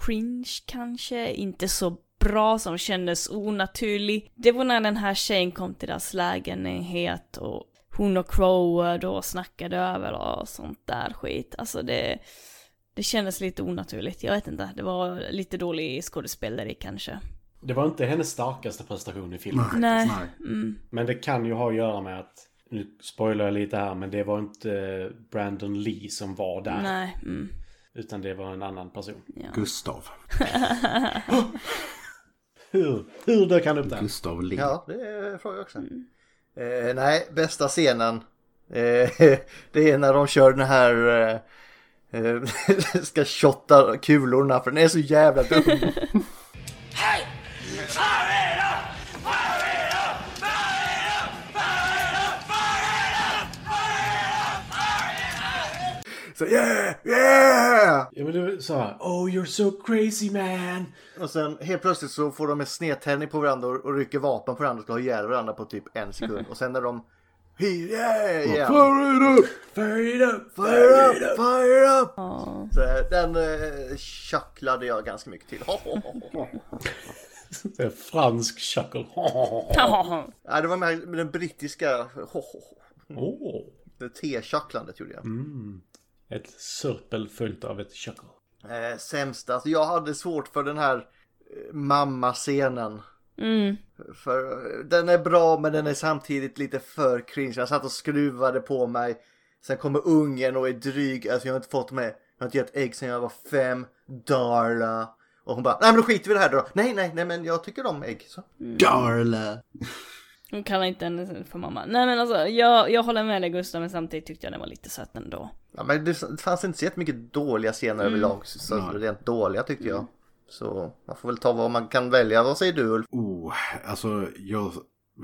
cringe kanske, inte så bra, som kändes onaturlig. Det var när den här tjejen kom till deras lägenhet och hon och Crow eh, då snackade över och sånt där skit. Alltså det, det kändes lite onaturligt. Jag vet inte, det var lite dålig skådespeleri kanske.
Det var inte hennes starkaste prestation i filmen.
Nej. Mm.
Men det kan ju ha att göra med att, nu spoilar jag lite här, men det var inte Brandon Lee som var där.
Nej. Mm.
Utan det var en annan person.
Gustav.
Hur, hur dök han upp där?
Gustav Lee.
Ja, det är en fråga också. Eh, nej, bästa scenen. Eh, det är när de kör den här... Eh, eh, ska shotta kulorna för den är så jävla dum. Så yeah, yeah!
Ja men du sa Oh you're so crazy man!
Och sen helt plötsligt så får de en snedtändning på varandra och, och rycker vapen på varandra och ska ha ihjäl varandra på typ en sekund. Och sen när de... He- Yeah, yeah.
Fire it up!
Fire it up!
Fire up! Fire up!
Ja.
Så eh, den eh, tjacklade jag ganska mycket till.
Det är fransk chuckle.
Ja.
Nej, det var med med den brittiska...
Oh.
Det T-tjacklandet gjorde jag.
Ett sörpel följt av ett chuckle.
Eh, sämsta. Alltså, jag hade svårt för den här eh, mamma-scenen.
Mm.
För eh, den är bra men den är samtidigt lite för cringe. Jag satt och skruvade på mig. Sen kommer ungen och är dryg. Alltså jag har inte fått med. Jag har inte gett ägg sen jag var fem. Darla. Och hon bara, nej men då skiter vi i det här då. Nej, nej, nej men jag tycker om ägg. Så.
Darla!
Hon kallar inte henne för mamma. Nej men alltså, jag, jag håller med dig Gustav men samtidigt tyckte jag den var lite söt ändå.
Ja, men det det fanns inte så jättemycket dåliga scener överlag. Så
Nej.
rent dåliga tyckte jag. Så man får väl ta vad man kan välja. Vad säger du Ulf?
Oh, alltså jag...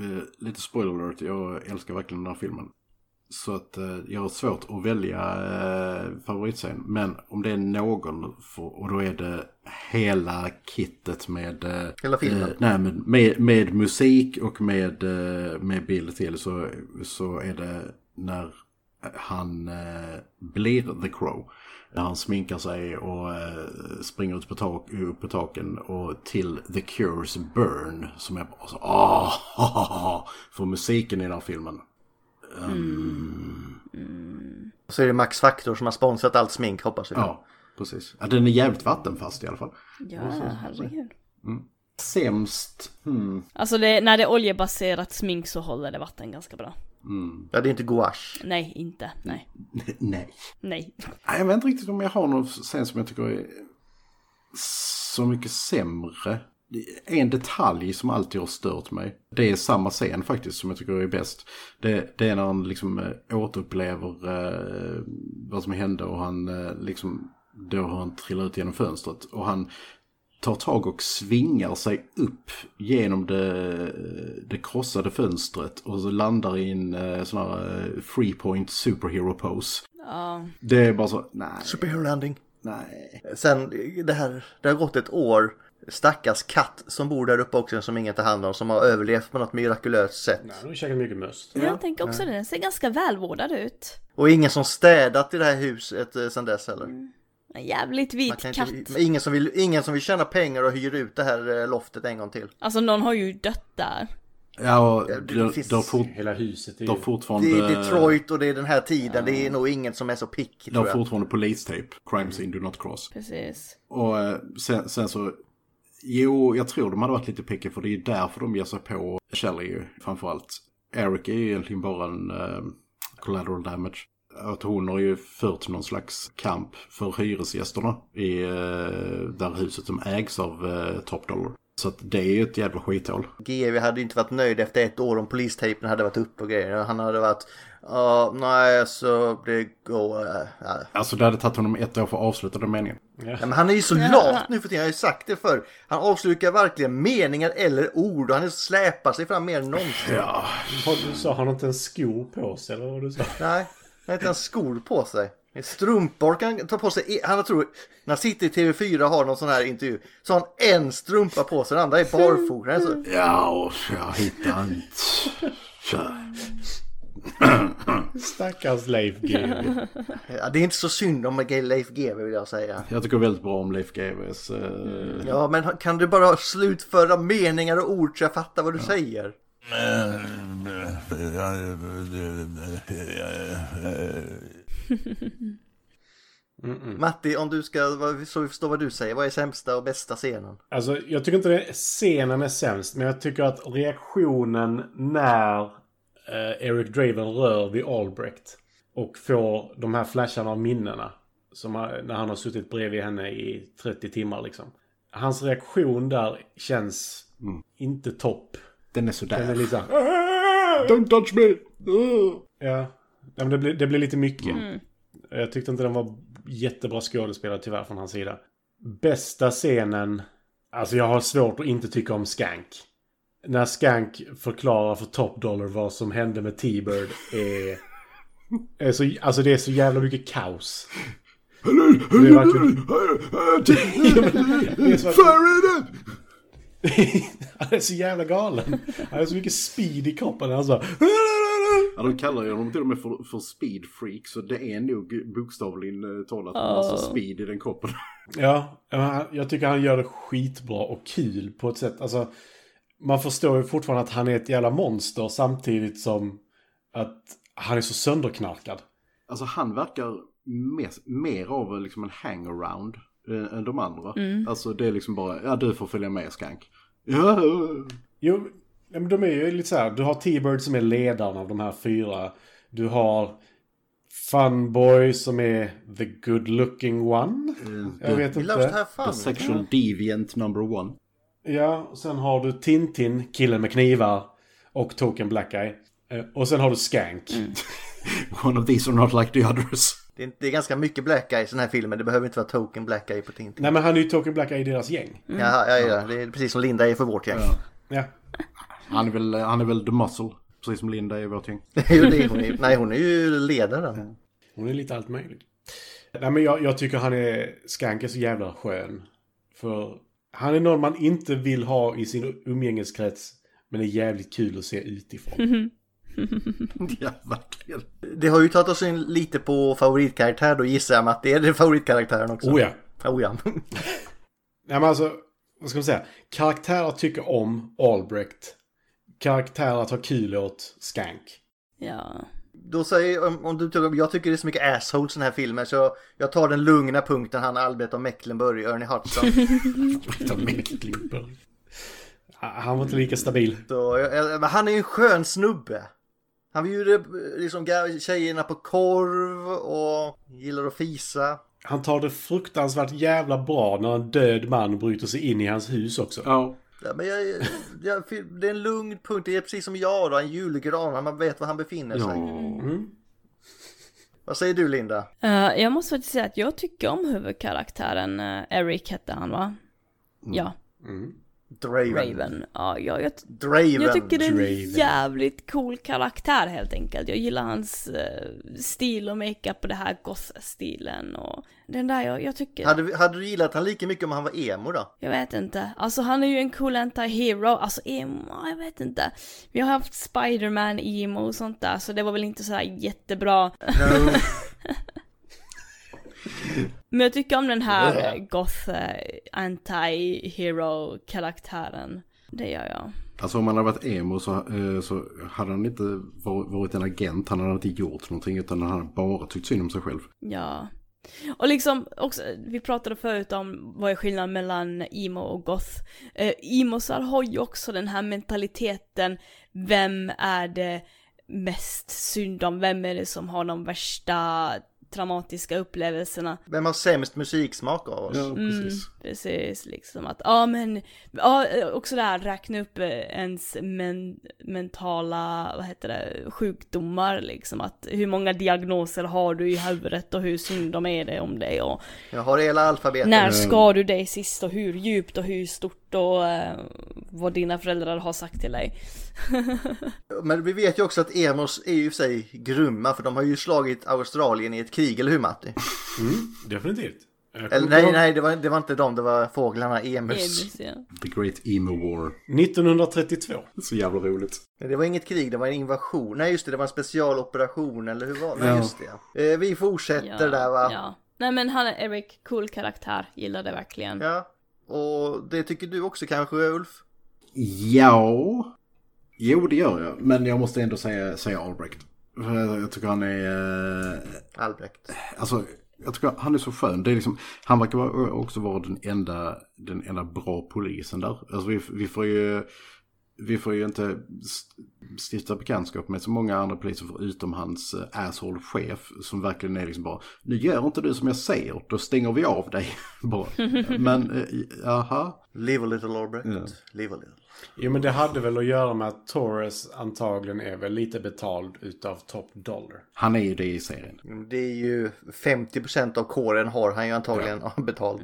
eh, Lite spoiler alert, jag älskar verkligen den här filmen. Så att eh, jag har svårt att välja eh, favoritscen. Men om det är någon, för, och då är det hela kittet med... Eh,
Hela filmen.
Eh, nej, men med, med musik och med, eh, med bild till så, så är det när han eh, blir The Crow. När han sminkar sig och eh, springer ut på, tak, upp på taken och till The Cures Burn som är bara så ah, För musiken i den här filmen.
Och så är det Max Factor som har sponsrat allt smink hoppas vi.
Ja, precis. Ja, den är jävligt vattenfast i alla fall.
Ja, herregud.
Sämst. Hmm.
Alltså det, när det är oljebaserat smink så håller det vatten ganska bra.
Ja, det är inte gouache.
Nej, inte. Nej.
Nej.
Nej.
Nej, Jag vet inte riktigt om jag har någon scen som jag tycker är så mycket sämre. Det är En detalj som alltid har stört mig. Det är samma scen faktiskt som jag tycker är bäst. Det, det är när han liksom eh, återupplever eh, vad som hände och han eh, liksom då har han trillat ut genom fönstret och han tar tag och svingar sig upp genom det, eh, det krossade fönstret och så landar i en eh, sån här eh, free point superhero pose.
Ja.
Det är bara så, nej.
Superhero landing.
Nej.
Sen det här, det har gått ett år. Stackars katt som bor där uppe också som ingen tar hand om som har överlevt på något mirakulöst sätt.
Han har ju käkat mycket möss.
Jag tänker också det. Den ser ganska välvårdad ut.
Och ingen som städat i det här huset eh, sen dess heller.
En jävligt
Man
vit
kan
katt.
inte, ingen, som vill, ingen som vill tjäna pengar och hyra ut det här eh, loftet en gång till.
Alltså någon har ju dött där.
Ja, och
det
det,
finns-
det, har fort,
Hela huset är
det har
ju...
fortfarande...
Det är Detroit och det är den här tiden. Det är nog ingen som är så pick
Det har
tror jag.
fortfarande polistape. Crime scene do not cross.
Precis.
Och eh, sen, sen så... Jo, jag tror de hade varit lite picky för det är ju därför de ger sig på Shelley ju, framförallt. Eric är ju egentligen bara en eh, collateral damage. Att hon har ju fört någon slags kamp för hyresgästerna i eh, där huset som ägs av eh, Top Dollar. Så att det är ju ett jävla skithål.
GW hade ju inte varit nöjd efter ett år om polistejpen hade varit uppe och grejer. Han hade varit, ja, nej, så det går, eh, nej.
Alltså det hade tagit honom ett år för att avsluta den meningen.
Nej, men han är ju så lat nu för tiden, jag har ju sagt det förr. Han avslukar verkligen meningar eller ord och han är- släpar sig fram mer än någonsin.
Ja,
Vad du sa, han har inte en sko på sig eller vad du sa?
Nej, han har inte ens skor på sig. Strumpor kan han ta på sig. Han tror, när han sitter i TV4 och har någon sån här intervju, så har han en strumpa på sig, den andra är barfota. Han är så-
ja, och jag hittar inte. Kör.
Stackars Leif GW.
Ja, det är inte så synd om Leif GW vill jag säga.
Jag tycker väldigt bra om Leif GWs... eh,
Ja, men kan du bara slutföra meningar och ord så jag fattar vad du säger? Matti, om du ska, vad- så vi förstår vad du säger, vad är sämsta och bästa scenen?
Alltså, jag tycker inte det, scenen är sämst, men jag tycker att reaktionen när eh, Eric Draven rör vid Albrecht och får de här flasharna av minnena. Som han- när han har suttit bredvid henne i 30 timmar liksom. Hans reaktion där känns inte topp.
Den är sådär.
Den är lite såhär,
Don't touch me! Ugh.
ja. ja men det, blir, det blir lite mycket. Jag tyckte inte den var jättebra skådespelare tyvärr från hans sida. Bästa scenen. Alltså jag har svårt att inte tycka om Skank. När Skank förklarar för Top Dollar vad som hände med T-Bird är... är så, alltså det är så jävla mycket kaos. Det är verkligen... Det är så- Han är så jävla galen. Han har så mycket speed i kroppen. Han så...
Ja, de kallar ju honom till och med för, för speed freak, så det är nog bokstavligen eh, talat en
Ja.
massa speed i den kroppen.
Ja, ja, men han- jag tycker han gör det skitbra och kul på ett sätt. Alltså, man förstår ju fortfarande att han är ett jävla monster samtidigt som att han är så sönderknarkad.
Alltså han verkar mer, mer av liksom en hangaround eh, än de andra. Alltså det är liksom bara, ja du får följa med Skank. Ja,
Jo, ja, men de är ju lite så här. Du har T-Bird som är ledaren av de här fyra. Du har Funboy som är the good looking one. Jag vet
Vi lär oss det
inte.
här fan.
sexual deviant number one.
Ja, och sen har du Tintin, killen med knivar och Token Black Eye. Eh, Och sen har du Skank.
One of these are not like the others.
Det är, det är ganska mycket black eye i den här filmen, det behöver inte vara token black eye på Tintin.
Nej, men han är ju Token Black Eye i deras gäng.
Ja, ja, ja, det är precis som Linda är för vårt gäng.
Mm. Ja.
Han är väl, han är väl the muscle, precis som Linda är vårt gäng.
Det är ju det hon är, nej, hon är ju ledaren.
Hon är lite allt möjligt. Nej, men jag, jag tycker han är... Skank är så jävla skön. För han är någon man inte vill ha i sin umgängeskrets. Men är jävligt kul att se utifrån.
Ja, verkligen.
Det har ju tagit oss in lite på favoritkaraktär då gissar jag att det är det favoritkaraktären också.
oh ja.
Oh ja.
Nej, men alltså, vad ska man säga? Karaktärer tycker om Albrecht. Karaktärer att ha kul åt Skank.
Ja.
Då säger om, om du tycker, jag tycker det är så mycket assholes i den här filmen så jag tar den lugna punkten han Albert av Mecklenburg, Ernie Hudson.
Klipper. Han han var inte lika stabil.
Så, jag, jag, men han är ju en skön snubbe. Han bjuder liksom ga- tjejerna på korv och gillar att fisa.
Han tar det fruktansvärt jävla bra när en död man bryter sig in i hans hus också.
Ja.
Ja, men jag, jag, det är en lugn punkt, det är precis som jag då, en julgran, man vet var han befinner sig. Vad säger du Linda?
Eh, jag måste faktiskt säga att jag tycker om huvudkaraktären, eh, Eric hette han va?
Mm.
Ja,
Draven.
Raven. Ja, jag, jag,
Draven.
jag tycker det är en
Draven.
jävligt cool karaktär helt enkelt. Jag gillar hans eh, stil och makeup och det här goth-stilen och den där, jag, jag tycker...
Hade, vi- hade du gillat han lika mycket om han var emo då?
Jag vet inte. Alltså han är ju en cool anti-hero. Alltså emo, jag vet inte. Vi har haft Spider-Man emo och sånt där så det var väl inte sådär jättebra. Men jag tycker om den här eh, goth eh, anti-hero karaktären. Det gör jag.
Alltså om han hade varit emo så, eh, så hade han inte var- varit en agent, han hade inte gjort någonting utan han hade bara tyckt synd om sig själv.
Ja. Och liksom också, vi pratade förut om vad är skillnaden mellan emo och goth. Eh, emosar har ju också den här mentaliteten, vem är det mest synd om, vem är det som har de värsta traumatiska upplevelserna.
Vem har sämst musiksmak av oss?
Ja, precis.
Precis, liksom att, ja men, ja också det här räkna upp eh, ens men, mentala, vad heter det, sjukdomar liksom. Att hur många diagnoser har du i huvudet och hur synd de är det om dig och
Jag har hela alfabetet. Eh,
När skar du dig sist och hur djupt och hur stort och eh, vad dina föräldrar har sagt till dig.
Men vi vet ju också att emos är ju i sig grymma för de har ju slagit Australien i ett krig, eller hur Matti?
Definitivt. Jag
Eller,
kommer
nej,
ihåg-
nej, det var, det var inte de, det var fåglarna, emus.
Emus, ja.
The Great Emo War.
1932.
Så jävla roligt.
Men Det var inget krig, det var en invasion. Nej, just det, det var en specialoperation, eller hur var det? Nej,
Ja.
just det. Eh, vi fortsätter
Ja,
där va?
Ja. Nej men han är Eric, cool karaktär, gillade verkligen.
Ja. Och det tycker du också kanske, Ulf?
Ja. Jo, det gör jag. Men jag måste ändå säga, säga Albrecht. För Jag tycker han är... eh,
Albrecht.
Alltså, jag tycker han är så skön. Det är liksom, han verkar vara- också vara den enda, den enda bra polisen där. Alltså vi, vi får ju... Vi får ju inte st- stifta bekantskap med så många andra poliser förutom hans eh, asshole-chef som verkligen är liksom bara Nu gör inte du som jag säger, då stänger vi av dig. bara. Men, eh, jaha.
Live a little Albrecht.
Ja.
Live a little.
Jo men det hade väl att göra med att Torres antagligen är väl lite betald utav top dollar.
Han är ju det i serien.
Det är ju 50% av kåren har han ju antagligen betalt.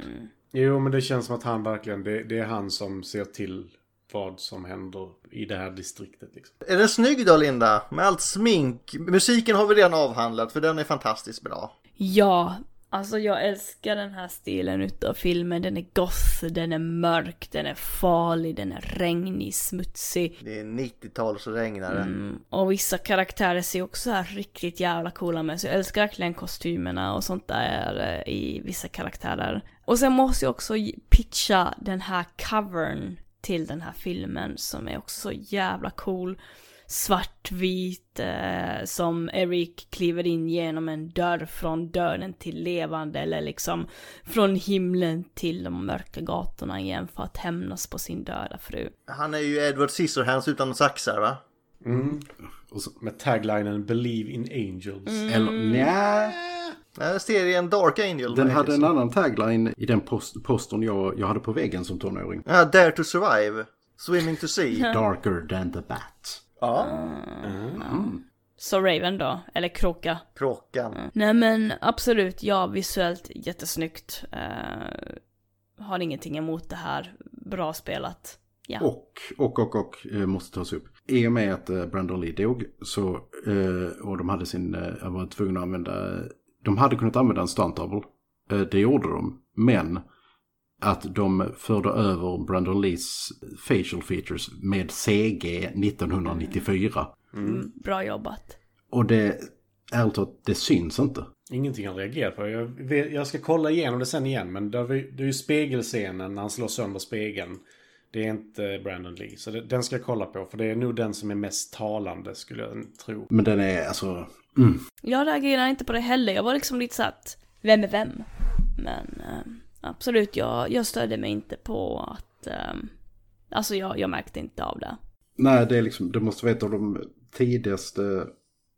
Jo men det känns som att han verkligen, det, det är han som ser till vad som händer i det här distriktet liksom.
Är den snygg då Linda? Med allt smink. Musiken har vi redan avhandlat för den är fantastiskt bra.
Ja, alltså jag älskar den här stilen utav filmen. Den är goth, den är mörk, den är farlig, den är regnig, smutsig.
Det är 90-talsregnare.
Och vissa karaktärer ser också här riktigt jävla coola med så jag älskar verkligen kostymerna och sånt där eh, i vissa karaktärer. Och sen måste jag också ge- pitcha den här covern till den här filmen som är också så jävla cool. Svartvit eh, som Eric kliver in genom en dörr från döden till levande eller liksom från himlen till de mörka gatorna igen för att hämnas på sin döda fru.
Han är ju Edward Scissorhands utan saxar va?
Med taglinen “Believe in Angels”.
Eller nja.
Nej, serien Dark Angel.
Den
vad
hade
heter
en
det?
annan tagline i den post- postern jag, jag hade på väggen som tonåring.
Ja, Dare to survive. Swimming to sea.
Darker than the bat.
Så Raven då, eller Kråka.
Kråkan.
Nej men absolut, ja visuellt jättesnyggt. Eh, har ingenting emot det här. Bra spelat. Ja.
Och, och, och, och eh, måste tas upp. I och med att eh, Brandon Lee dog så, eh, och de hade sin, eh, var tvungna att använda, de hade kunnat använda en stuntdouble. Eh, det gjorde de, men att de förde över Brandon Lees facial features med CG 1994.
Bra jobbat.
Och det, ärligt talat, det syns inte.
Ingenting han reagerar på. Jag, vet, jag ska kolla igenom det sen igen, men det är, ju- det är ju spegelscenen när han slår sönder spegeln. Det är inte Brandon Lee, så det, den ska jag kolla på, för det är nog den som är mest talande, skulle jag tro.
Men den är alltså,
Jag reagerar inte på det heller. Jag var liksom lite såhär att, vem är vem? Men eh, absolut, jag, jag stödde mig inte på att... eh, alltså jag, jag märkte inte av det.
Nej, det, är liksom, det måste vara ett av de tidigaste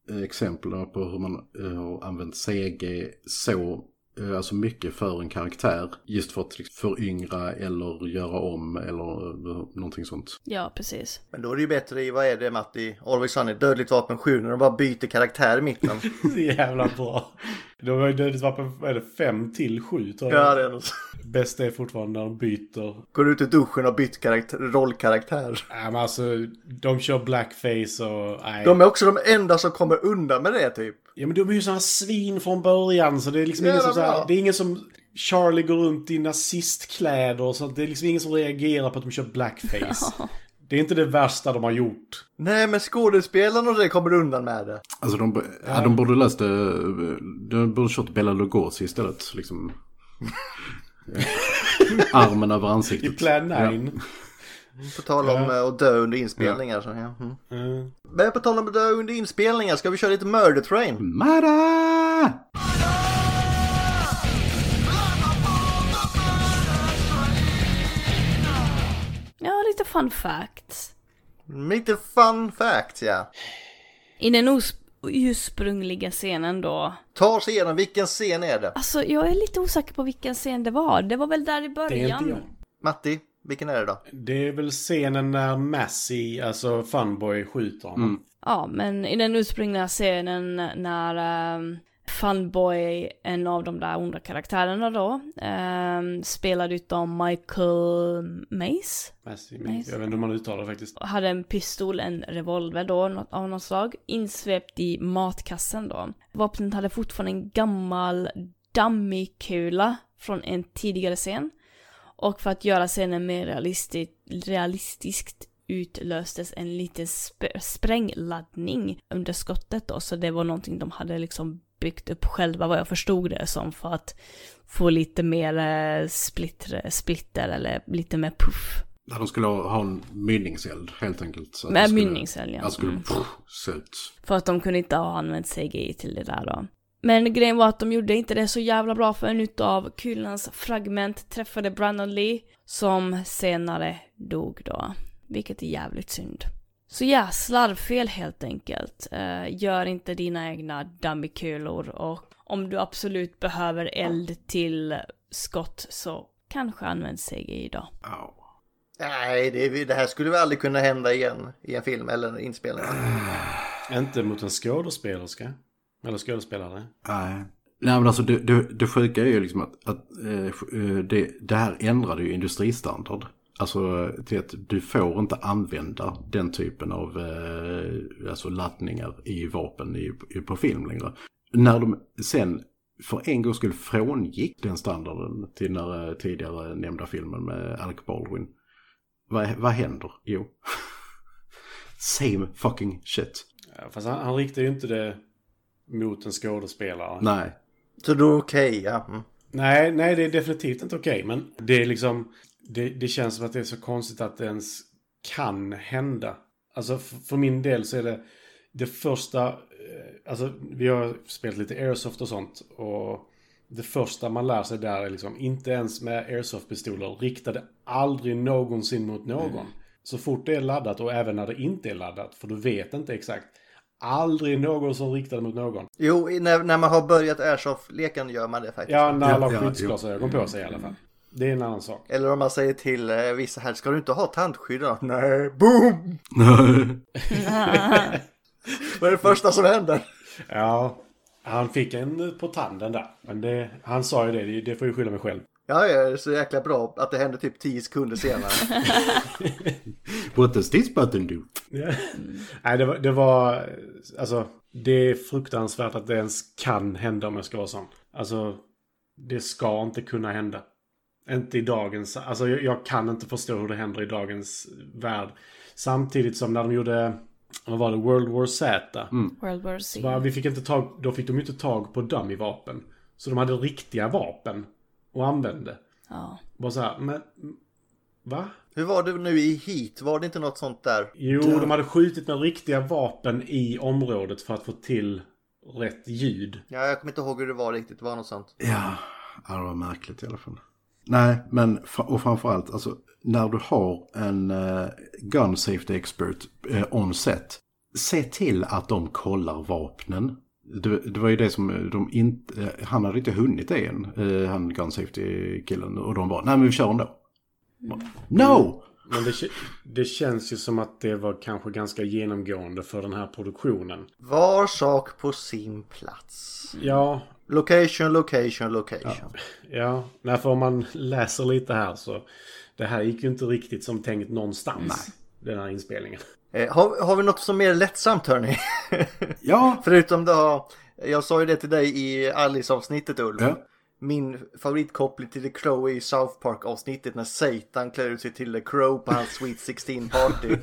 eh, exemplen på hur man eh, har använt CG så eh, alltså mycket för en karaktär. Just för att liksom, föryngra eller göra om eller eh, någonting sånt.
Ja, precis.
Men då är det ju bättre i, vad är det Matti? Always Sunny, Dödligt Vapen 7, när de bara byter karaktär i mitten.
Så jävla bra. Då var ju Dödligt Vapen, är det fem till sju tror
ja,
jag.
det är något.
Bästa är fortfarande när de byter.
Går ut ur duschen och bytt karaktär, rollkaraktär.
Äh, men alltså, de kör blackface och... Nej.
De är också de enda som kommer undan med det typ.
Ja men de är ju sådana svin från början så det är liksom
Jävla
ingen som
bra.
såhär, Det är ingen som Charlie går runt i nazistkläder och sånt. Det är liksom ingen som reagerar på att de kör blackface. det är inte det värsta de har gjort.
Nej, men skådespelarna och det kommer undan med det.
Alltså de, b- ja, de borde löst det, eh, de borde kört Bela Lugosi istället. Liksom. Armen över
I
ansiktet.
Plan 9.
På tal om eh, att dö under inspelningar. Så, ja. mm.
Mm.
Men på tal om att dö under inspelningar, ska vi köra lite Murder Train?
Mada!
Ja, lite fun facts.
Lite fun fact, ja.
I den os- ursprungliga scenen då,
Ta oss igenom, vilken scen är det?
Alltså jag är lite osäker på vilken scen det var. Det var väl där i
Det är inte
början?
jag.
Matti, vilken är det då?
Det är väl scenen när Massey, alltså Funboy, skjuter honom.
Mm.
Ja, men i den ursprungliga scenen när um, Funboy, en av de där onda karaktärerna då, um, spelad utav Michael Mace,
Massey, men jag vet inte hur man uttalar det faktiskt.
hade en pistol, en revolver då, något, av något slag, insvept i matkassen då. Vapnet hade fortfarande en gammal dummy-kula från en tidigare scen. Och för att göra scenen mer realistisk, realistiskt utlöstes en liten sp- sprängladdning under skottet då, så det var någonting de hade liksom byggt upp själva vad jag förstod det som för att få lite mer eh, splitter, splitter eller lite mer puff
Där de skulle ha ha en mynningseld helt enkelt. Så att
Med
det skulle-
mynningseld, ja.
Att det skulle
Mm.
pff, se ut.
För att de kunde inte ha använt CGI till det där då. Men grejen var att de gjorde inte det så jävla bra för en utav kulans fragment träffade Brandon Lee som senare dog då. Vilket är jävligt synd. Så ja, slarvfel helt enkelt. Eh, gör inte dina egna dummykulor och om du absolut behöver eld till skott så kanske använd CGI då.
Nej, det, det här skulle väl aldrig kunna hända igen i en film eller en inspelning.
Inte mot en skådespelerska. Eller skådespelare.
Nej. Nej men alltså det, det, det sjuka är ju liksom att, att eh, eh, det, det här ändrade ju industristandard. Alltså eh, till att du får inte använda den typen av eh, alltså laddningar i vapen i, i, på film längre. När de sen för en gång skulle frångick den standarden till den här, eh, tidigare nämnda filmen med Alec Baldwin. Vad, vad händer? Jo. Same fucking shit.
Ja, Fast han, han riktar ju inte det mot en skådespelare.
Nej.
Så då är okej, ja. Mm.
Nej, nej, det är definitivt inte okej. men det är liksom... Det, det känns som att det är så konstigt att det ens kan hända. Alltså f- för min del så är det det första... eh, Alltså vi har spelat lite airsoft och sånt. Och det första man lär sig där är liksom inte ens med airsoft-pistoler riktade aldrig någonsin mot
Mm.
någon. Så fort det är laddat och även när det inte är laddat, för du vet inte exakt. Aldrig någon som riktade mot någon.
Jo, i- när, när man har börjat airsoft-leken gör man det faktiskt.
Ja, när alla
Ja, Mm.
har
ja,
skyddsglasögon på sig i alla fall. Det är en annan sak.
Eller om man säger till eh, vissa här, ska du inte ha tandskydd då? Nej, boom! Vad är det första som händer?
Ja, han fick en på tanden där. Men det, han sa ju det, det, det får jag skylla mig själv.
Ja, ja, det är så jäkla bra att det händer typ 10 sekunder senare.
What does this button do?
Nej, det var, det var... Alltså, det är fruktansvärt att det ens kan hända om jag ska vara sån. Alltså, det ska inte kunna hända. Inte i dagens... Alltså, jag, jag kan inte förstå hur det händer i dagens värld. Samtidigt som när de gjorde... Vad var det? World War Z.
World War
Så
Z.
bara, vi fick inte tag, då fick de ju inte tag på dummyvapen. Så de hade riktiga vapen och använde.
Ja.
Bara så här, men... Va?
Hur var det nu i Heat? Var det inte något sånt där?
Jo, de hade skjutit med riktiga vapen i området för att få till rätt ljud.
Ja, jag kommer inte ihåg hur det var riktigt. Det var något sånt.
Ja, ja, det var märkligt i alla fall. Nej, men fra- och framförallt, alltså, när du har en eh, gun safety expert eh, on set, se till att de kollar vapnen. Det, det var ju det som de inte, eh, han hade inte hunnit det än, eh, han gun safety killen, och de bara, nej men vi kör ändå. No!
Men det, kä- det känns ju som att det var kanske ganska genomgående för den här produktionen.
Var sak på sin plats.
Ja,
Location, location, location.
ja. Nej, för om man läser lite här så... Det här gick ju inte riktigt som tänkt någonstans. Den här inspelningen.
Eh, har, har vi något som är mer lättsamt hörni?
Ja!
Förutom då, jag sa ju det till dig i Alice-avsnittet Ulf.
Ja.
Min favoritkoppling till The Crow är i South Park-avsnittet när Satan klär ut sig till The Crow på hans Sweet 16-party.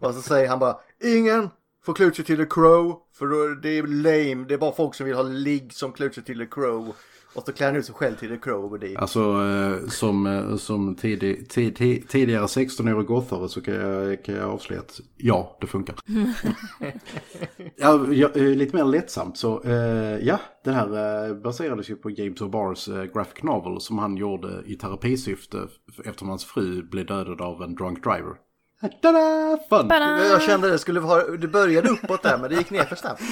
och så säger han bara Ingen får klä ut sig till The Crow för då är det är lame. Det är bara folk som vill ha ligg som klär ut sig till The Crow. Och så klär han ut sig själv till The Crow och går dit.
Alltså eh, som, eh, som tidig, ti, ti, tidigare 16-årig gothare så kan jag, kan jag avslöja att ja, det funkar. ja, ja, eh, lite mer lättsamt så eh, ja, den här eh, baserades ju på James O'Barrs eh, graphic novel som han gjorde i terapisyfte f- eftersom hans fru blev dödad av en drunk driver. Ta-da! Fun!
Jag kände det skulle vara, det började uppåt där men det gick ner för snabbt.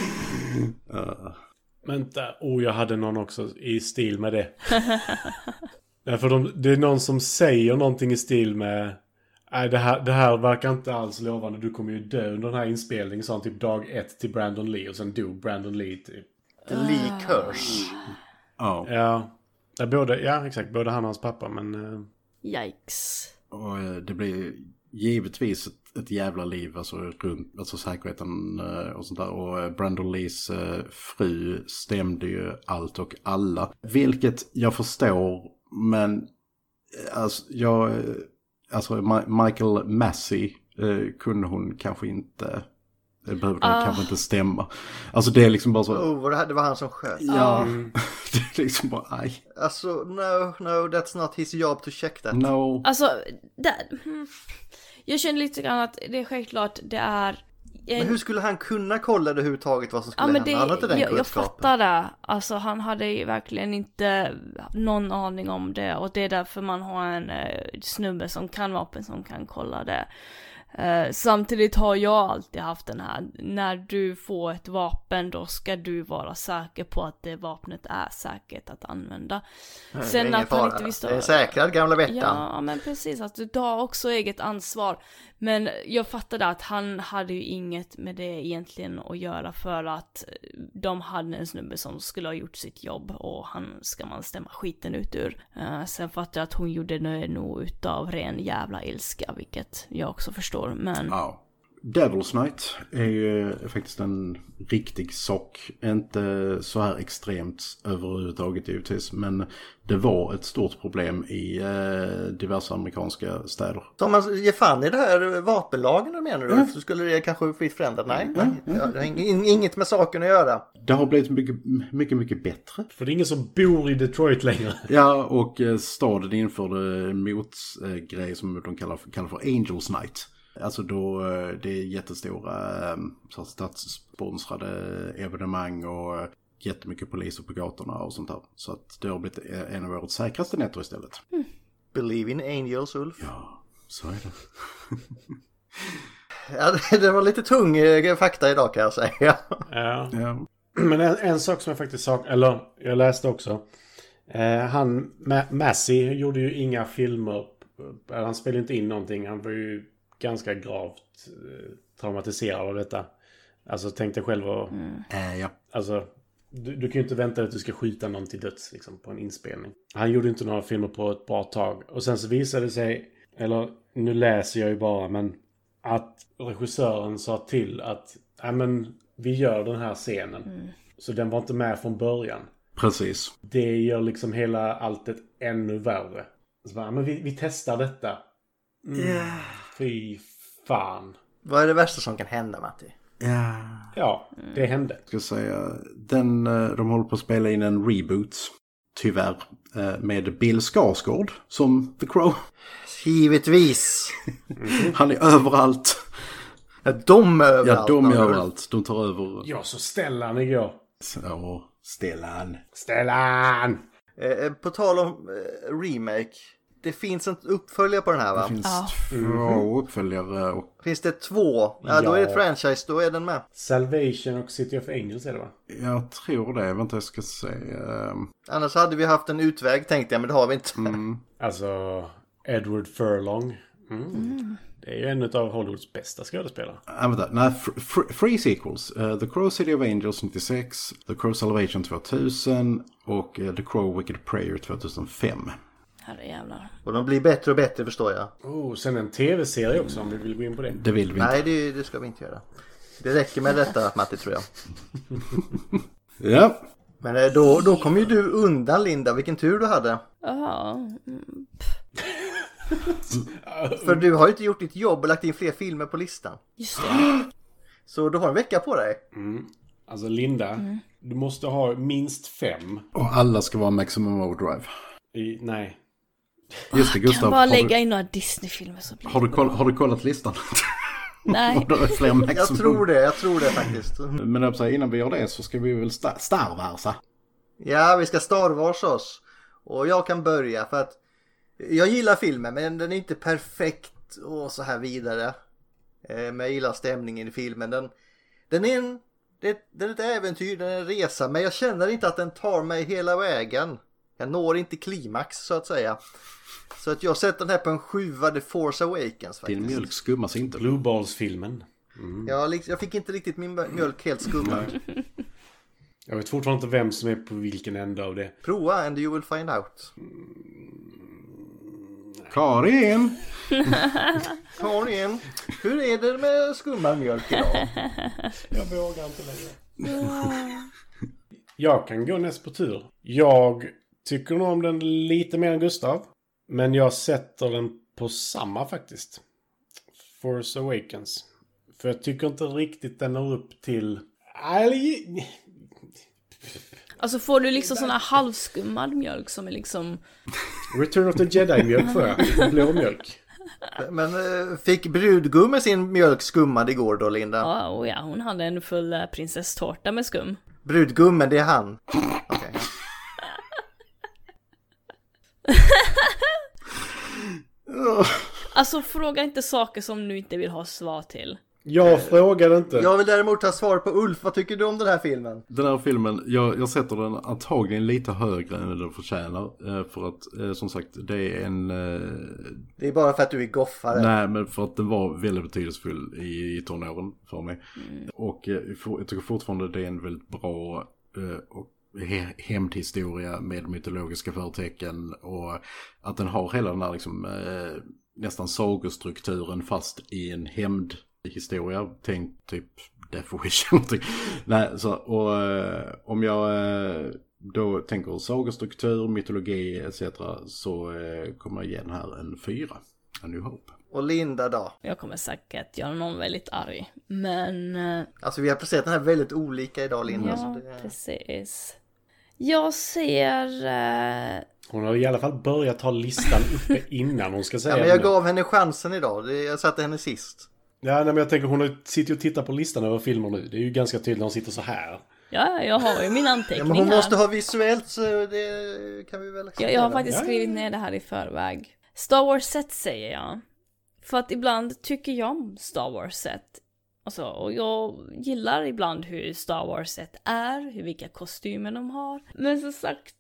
Vänta, oh jag hade någon också i stil med det. Därför de, det är någon som säger någonting i stil med Nej, det här, det här verkar inte alls lovande. Du kommer ju dö under den här inspelningen, sa han typ dag ett till Brandon Lee och sen dog Brandon Lee typ.
The Lee Curse.
Ja,
Ja, ja, både, ja exakt. Både han och hans pappa, men... eh,
Yikes.
och eh, det blir givetvis ett, ett jävla liv alltså, runt alltså, säkerheten eh, och sånt där. Och eh, Brandon Lees eh, fru stämde ju allt och alla. Vilket jag förstår, men eh, alltså, jag, eh, alltså Ma- Michael Massey eh, kunde hon kanske inte Det behöver ah. kanske inte stämma. Alltså det är liksom bara så...
Oh, vad det, här, det var han som sköt.
Ja. det är liksom bara, aj.
Alltså, no, no, that's not his job to check that.
No.
Alltså, där. mm. Jag känner lite grann att det är självklart det är...
Men hur skulle han kunna kolla det överhuvudtaget vad som skulle
ja, men
hända?
det,
Han hade den
jag, jag
kunskapen.
fattar det. Alltså han hade ju verkligen inte någon aning om det och det är därför man har en eh, snubbe som kan vapen som kan kolla det. Eh, samtidigt har jag alltid haft den här, när du får ett vapen då ska du vara säker på att det vapnet är säkert att använda.
Det är ingen fara. Det är säkrad gamla Bettan.
Ja, men precis. Att du tar också eget ansvar. Men jag fattade att han hade ju inget med det egentligen att göra för att eh, de hade en snubbe som skulle ha gjort sitt jobb och han ska man stämma skiten ut ur. Eh, sen fattade jag att hon gjorde det nog utav ren jävla ilska, vilket jag också förstår. Men
Ja. Devil's Night är ju faktiskt en riktig sock. Inte så här extremt överhuvudtaget givetvis. Men det var ett stort problem i eh, diverse amerikanska städer.
Så om man ger fan i det här vapenlagen menar
Mm.
du? Så skulle det kanske fritt förändrat? Nej, nej. Ja, det har ing- inget med saken att göra.
Det har blivit mycket, mycket, mycket bättre.
För det är ingen som bor i Detroit längre.
Ja, och eh, staden införde en motgrej som de kallar för, kallar för Angels Night. Alltså då eh, det är jättestora eh, så här statssponsrade evenemang och eh, jättemycket poliser på gatorna och sånt där. Så att det har blivit eh, en av årets säkraste nätter istället.
Believe in angels, Ulf.
Ja, så är det.
Ja, det- det var lite tung eh, fakta idag kan jag säga.
Ja.
Ja.
Men en, en sak som jag faktiskt sa, eller jag läste också. Eh, han, Ma- Massey, gjorde ju inga filmer. Eh, Han spelade inte in någonting. Han var ju ganska gravt eh, traumatiserad av detta. Alltså tänk dig själv och,
Eh, ja.
Alltså, du, du kan ju inte vänta dig att du ska skjuta någon till döds liksom, på en inspelning. Han gjorde inte några filmer på ett bra tag. Och sen så visade det sig, eller nu läser jag ju bara, men att regissören sa till att ja men vi gör den här scenen. Så den var inte med från början.
Precis.
Det gör liksom hela alltet ännu värre. Så bara, "Ja, men vi, vi testar detta. Mm. Fy fan.
Vad är det värsta som kan hända, Matti?
Ja.
Ja, det hände.
ska säga. Den, eh, de håller på att spela in en reboot. Tyvärr. eh, Med Bill Skarsgård som The Crow.
Givetvis.
Han är överallt.
Ja, de är överallt.
Ja, de är
menar du?
överallt. De tar över.
Ja, så Stellan igår.
Ja, Stellan.
Stellan!
Eh, eh, på tal om eh, remake. Det finns en uppföljare på den här va?
Det
Finns...
finns två uppföljare och
det två? Ja, då är det ett
Ja.
franchise, då är den med.
Salvation och City of Angels är det va?
jag tror det. Vänta, jag ska se. eh,
Annars hade vi haft en utväg tänkte jag, men det har vi inte.
Mm.
Alltså Edward Furlong. Mm. Det är ju en av Hollywoods bästa skådespelare.
Nej, äh, vänta. Nej, fr- fr- Free Sequels. Eh, The Crow City of Angels 96, The Crow Salvation 2000 och eh, The Crow Wicked Prayer 2005.
herrejävlar.
Och de blir bättre och bättre förstår jag.
Oh, sen en tv-serie också om vi vill gå in på det.
Det vill vi inte.
Nej, det, det ska vi inte göra. Det räcker med detta Matti tror jag.
Ja,
Men eh, då, då kom ju du undan Linda, vilken tur du hade.
Ja, mm.
För du har ju inte gjort ditt jobb och lagt in fler filmer på listan.
just det.
Så du har en vecka på dig.
Alltså Linda, du måste ha minst fem.
och alla ska vara Maximum Overdrive.
I, nej.
Just det,
Kan
Gustav.
bara
Har
lägga
du,
in några Disney-filmer så blir det...
har, du koll, har du kollat listan?
Nej.
Om det är fler Maximum
Jag tror det, jag tror det faktiskt.
Men jag vill säga, innan vi gör det så ska vi väl sta- starvarsa.
Ja, vi ska Star Wars oss. Och jag kan börja för att jag gillar filmen men den är inte perfekt och så här vidare. Eh, Men jag gillar stämningen i filmen. Den, den, är en, det, den är ett äventyr, den är en resa men jag känner inte att den tar mig hela vägen. Jag når inte klimax så att säga. Så att jag sätter den här på en sjua, The Force Awakens faktiskt.
Din mjölk skummas inte.
Blue Balls-filmen.
Jag, liksom- jag fick inte riktigt min mjölk helt skummad.
Jag vet fortfarande inte vem som är på vilken ände av det.
Prova and you will find out.
Karin!
Karin, hur är det med skummad mjölk idag?
Jag vågar inte längre. jag kan gå näst på tur. Jag tycker nog om den lite mer än Gustav. Men jag sätter den på samma faktiskt. Force Awakens. För jag tycker inte riktigt den når upp till... Nej,
Alltså får du liksom sån här halvskummad mjölk som är liksom...
Return of the Jedi-mjölk får jag. Blåmjölk.
Men eh, fick brudgummen sin mjölk skummad igår då, Linda?
Ja, oh, ja, hon hade en full eh, prinsesstårta med skum.
Brudgummen, det är han. Okej.
Alltså fråga inte saker som du inte vill ha svar till.
Jag frågade inte.
Jag vill däremot ha svar på Ulf, vad tycker du om den här filmen?
Den här filmen, jag, jag sätter den antagligen lite högre än den förtjänar. eh, För att eh, som sagt, det är en... eh,
Det är bara för att du är goffare.
Nej, men för att den var väldigt betydelsefull i, i tonåren för mig. Och eh, for- jag tycker fortfarande det är en väldigt bra eh, och he- hämndhistoria med mytologiska förtecken. Och att den har hela den här liksom, eh, nästan sagostrukturen fast i en hämndhistoria. Tänk typ Death Wish eller någonting. Nej, så, och eh, om jag... Eh, då tänker sagostruktur, mytologi etc. så eh, kommer jag ge den här en fyra. A New Hope.
Och Linda då?
Jag kommer säkert göra någon väldigt arg. Men... eh,
Alltså vi har placerat den här väldigt olika idag, Linda.
Ja,
så det...
precis. Jag ser... eh,
Hon har i alla fall börjat ha listan uppe innan hon ska säga
ja, men jag
det nu.
gav henne chansen idag. Det- Jag satte henne sist.
Ja, nej, men jag tänker hon har- sitter ju och tittar på listan över filmer nu. Det är ju ganska tydligt när hon sitter så här.
Ja, jag har ju min anteckning
Ja, men hon
här.
måste ha visuellt så det kan vi väl acceptera.
Jag, jag har faktiskt skrivit ner det här i förväg. Star Wars set säger jag. För att ibland tycker jag om Star Wars set. Alltså, och jag gillar ibland hur Star Wars set är, hur vilka kostymer de har. Men som sagt,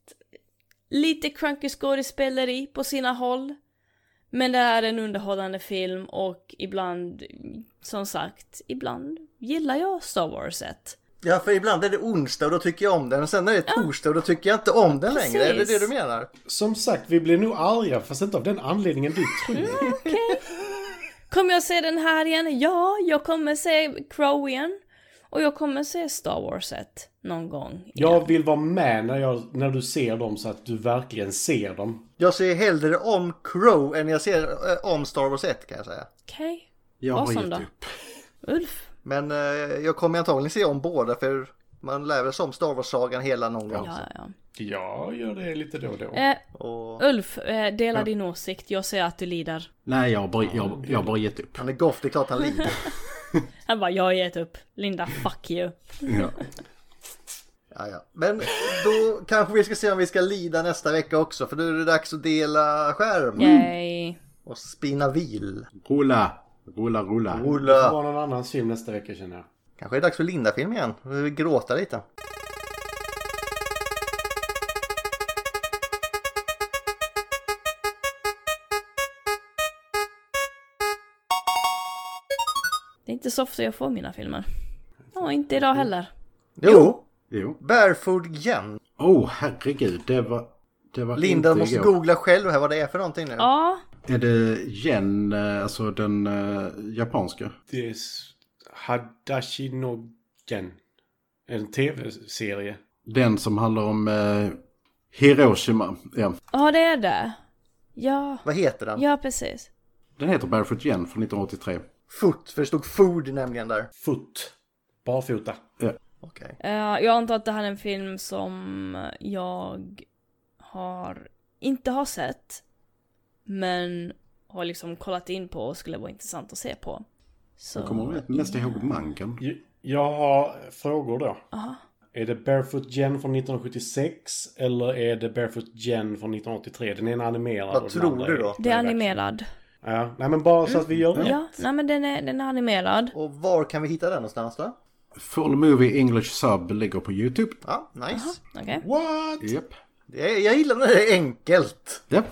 lite cranky skådespeleri på sina håll. Men det är en underhållande film och ibland, som sagt, ibland gillar jag Star Wars set.
Ja, för ibland är det onsdag och då tycker jag om den. Och sen är det torsdag och då tycker jag inte om den
Precis.
längre. Är det det du menar?
Som sagt, vi blir nog arga, fast inte av den anledningen du tror.
Kommer jag se den här igen? Ja, jag kommer se Crow igen. Och jag kommer se Star Wars 1 någon gång.
Jag vill vara med när, jag, när du ser dem så att du verkligen ser dem.
Jag ser hellre om Crow än jag ser eh, om Star Wars 1 kan jag säga.
Okej.
Jag typ-
Vad
har
som
gett
då?
upp.
Ulf?
Men eh, jag kommer antagligen se om båda för man lär väl sig om Star Wars-sagan hela någon gång.
Ja, ja.
Jag gör det lite då och då.
Eh,
Och
Ulf, eh, dela din åsikt. Jag säger att du lider.
Nej, jag har bara, jag, jag har bara gett upp.
han är goff, det är klart han lider.
Han bara, jag har gett upp. Linda, fuck you.
Ja.
Ja, ja. Men då kanske vi ska se om vi ska lida nästa vecka också för då är det dags att dela skärm
Yay.
och spinna vil.
Rulla, rulla, rulla.
Det
Ola,
var någon annans film nästa vecka känner jag.
kanske är det dags för Linda-film igen. Vi vill gråta lite.
Det är inte så ofta jag får mina filmer. Ja, inte idag heller.
Jo,
Jo.
Barefoot igen.
Oh, herregud. Det var... Det var
Linda
inte
måste
igår.
googla själv här vad det är för någonting nu.
Ja,
Är det gen, eh, alltså den eh, japanska?
Det är s- Hadashi no Gen. En tv-serie.
Den som handlar om eh, Hiroshima. Ja.
ja det är det. Ja,
Vad heter den?
ja precis.
Den heter Barefoot Gen från 1983.
Foot, för det stod food nämligen där.
Fot. Barfota.
Okej.
Eh, jag antar att det här är en film som jag har inte har sett. Men har liksom kollat in på och skulle vara intressant att se på. Så...
Kommer du mest ihåg manken?
J- Jag har frågor då. Är det Barefoot Gen från 1976 eller är det Barefoot Gen från 1983? Den ena är animerad.
Vad
och den
tror
andra
du
är-
då?
Det är animerad.
Ja, nej men bara så att vi gör rätt.
Ja, nej men den är, den är animerad.
Och var kan vi hitta den någonstans då?
Full Movie English Sub ligger på YouTube.
Ja, nice.
Okej.
What?
Japp.
Det är, jag gillar när det är enkelt.
Ja.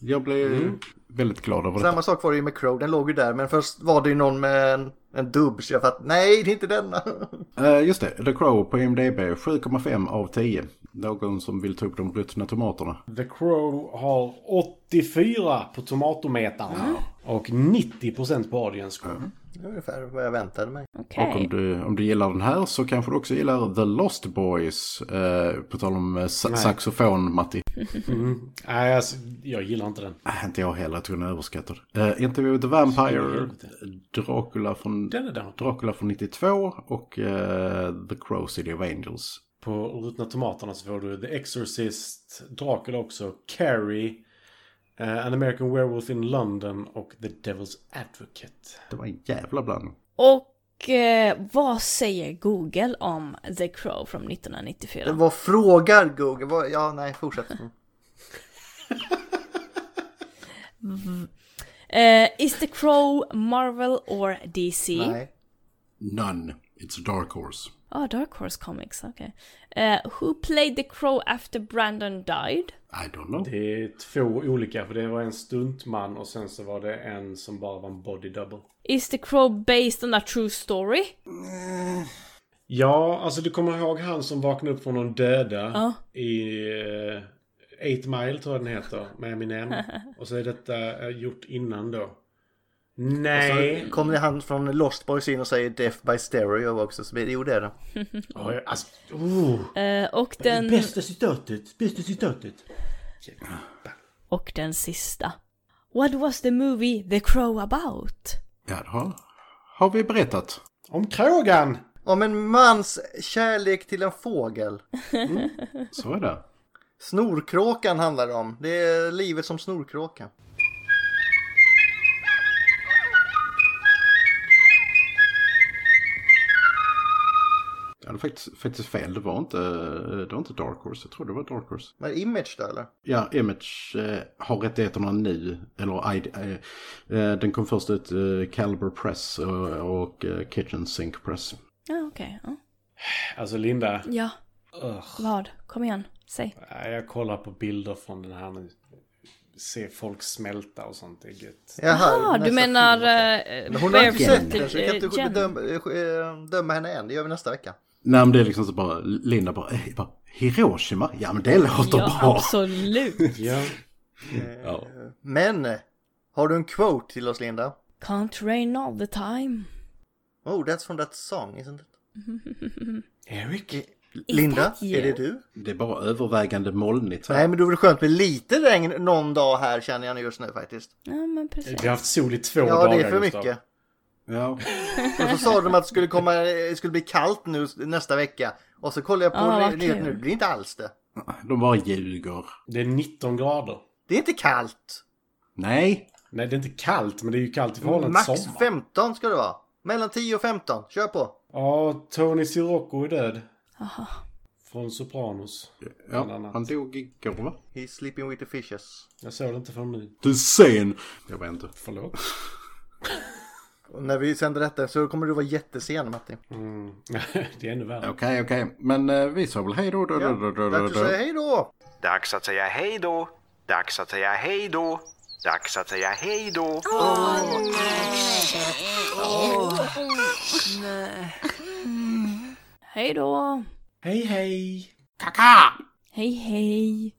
Jag blev väldigt glad över det.
Samma sak var det ju med Crow, den låg ju där men först var det ju någon med en, en dubb så jag fattade, nej det är inte denna.
Eh, just det, The Crow på IMDB 7,5 av 10. Någon som vill ta upp de ruttna tomaterna.
The Crow har 84 på tomatometern. Och 90% på audience score.
Det är ungefär vad jag väntade mig.
Okej.
Och om du, om du gillar den här så kanske du också gillar The Lost Boys. Eh, på tal om eh, sa-
Nej.
saxofon, Matti.
Mm. Nej, alltså, jag gillar inte den.
Äh, inte jag heller, jag tror den är överskattad. Eh, Interview with the Vampire, Dracula från,
Den är där.
Dracula från 92 och eh, The Crow City of Angels.
På Rutna Tomaterna så får du The Exorcist, Dracula också, Carrie, eh, An American Werewolf in London och The Devil's Advocate.
Det var en jävla blandning.
Och eh, vad säger Google om The Crow från 1994?
Det var frågar Google. Vad- Ja, nej, fortsätt. Mm.
Eh, is The Crow Marvel or DC?
Nej.
None. It's a dark horse.
Oh, Dark Horse Comics, okej. Eh, who played The Crow after Brandon died?
I don't know.
Det är två olika, för det var en stuntman och sen så var det en som bara var en body double.
Is The Crow based on a true story?
Ja, alltså du kommer ihåg han som vaknade upp från de döda
Ja.
i eh, Eight Mile tror jag den heter, med Eminem. Och så är detta eh, gjort innan då. Nej!
Så kom det han från Lost Boys in och säger Death by Stereo också. Så blir det, jo, det är det.
Oj, alltså, oh.
Eh, och, den,
Bästa citatet, bästa citatet.
och den sista. What was the movie The Crow about?
Ja, det har, har vi berättat.
Om krågan!
Om en mans kärlek till en fågel.
Så är det.
Snorkråkan handlar det om. Det är livet som snorkråka.
Jag hade faktiskt, faktiskt fel. Det var, inte, eh, det var inte Dark Horse. Jag tror det var Dark Horse.
Var det Image då eller?
Ja, Image eh, har rättigheterna nu. Eller ID, eh, eh, den kom först ut eh, Caliber Press och, och eh, Kitchen Sink Press.
Ja, okej. ja.
Alltså Linda,
Ja. Vad? Kom igen, säg.
nej, jag kollar på bilder från den här nu. Se folk smälta och sånt, det är gött.
Jaha,
Ja, du
nästa
menar...
film, okej.
eh,
Men Hon har inte
Barefoot,
sett den så vi
eh,
kan inte
Jen.
bedöma, eh, döma henne än. Det gör vi nästa vecka.
Nej, men det är liksom så bara Linda bara, eh, bara Hiroshima? Ja, men det låter
Ja,
bra.
absolut.
Ja.
Ja.
Men, eh, har du en quote till oss Linda?
Can't rain all the time.
Oh, that's from that song, isn't it?
Eric?
Linda,
that
är
you?
det du?
Det är bara övervägande molnigt här.
Nej, men det vore skönt med lite regn någon dag här känner jag just nu faktiskt.
Ja, men precis.
Vi har haft sol i två
Ja,
dagar
det är för
Gustav.
mycket.
Ja.
Och så sa de att det skulle, komma, det skulle bli kallt nu nästa vecka. Och så kollar jag på
Ja, Ah, vad
ny- nyheterna
kul.
nu, det blir inte alls det.
De bara ljuger.
Det är 19 grader.
Det är inte kallt!
Nej.
Nej, det är inte kallt, men det är ju kallt i förhållande
Max
till sommar.
15 ska det vara. Mellan 10 och 15, kör på!
Ja, Tony Sirocco är död.
Aha.
Från Sopranos. Bland
Ja,
annat.
han dog igår va?
He's sleeping with the fishes.
Jag såg det inte förrän nu.
Du sen! Jag vet inte.
Förlåt.
Och när vi sänder detta så kommer du vara jättesen Matti.
Mm. det är ännu värre.
Okej, okej. Men eh, vi sa väl hej då. då,
Ja,
då, då, då,
Dags att
då.
säga hej då!
Dags att säga hej då. Dags att säga hej då. Dags att säga hej då.
Hej då.
Hej, hej!
Hej, hej.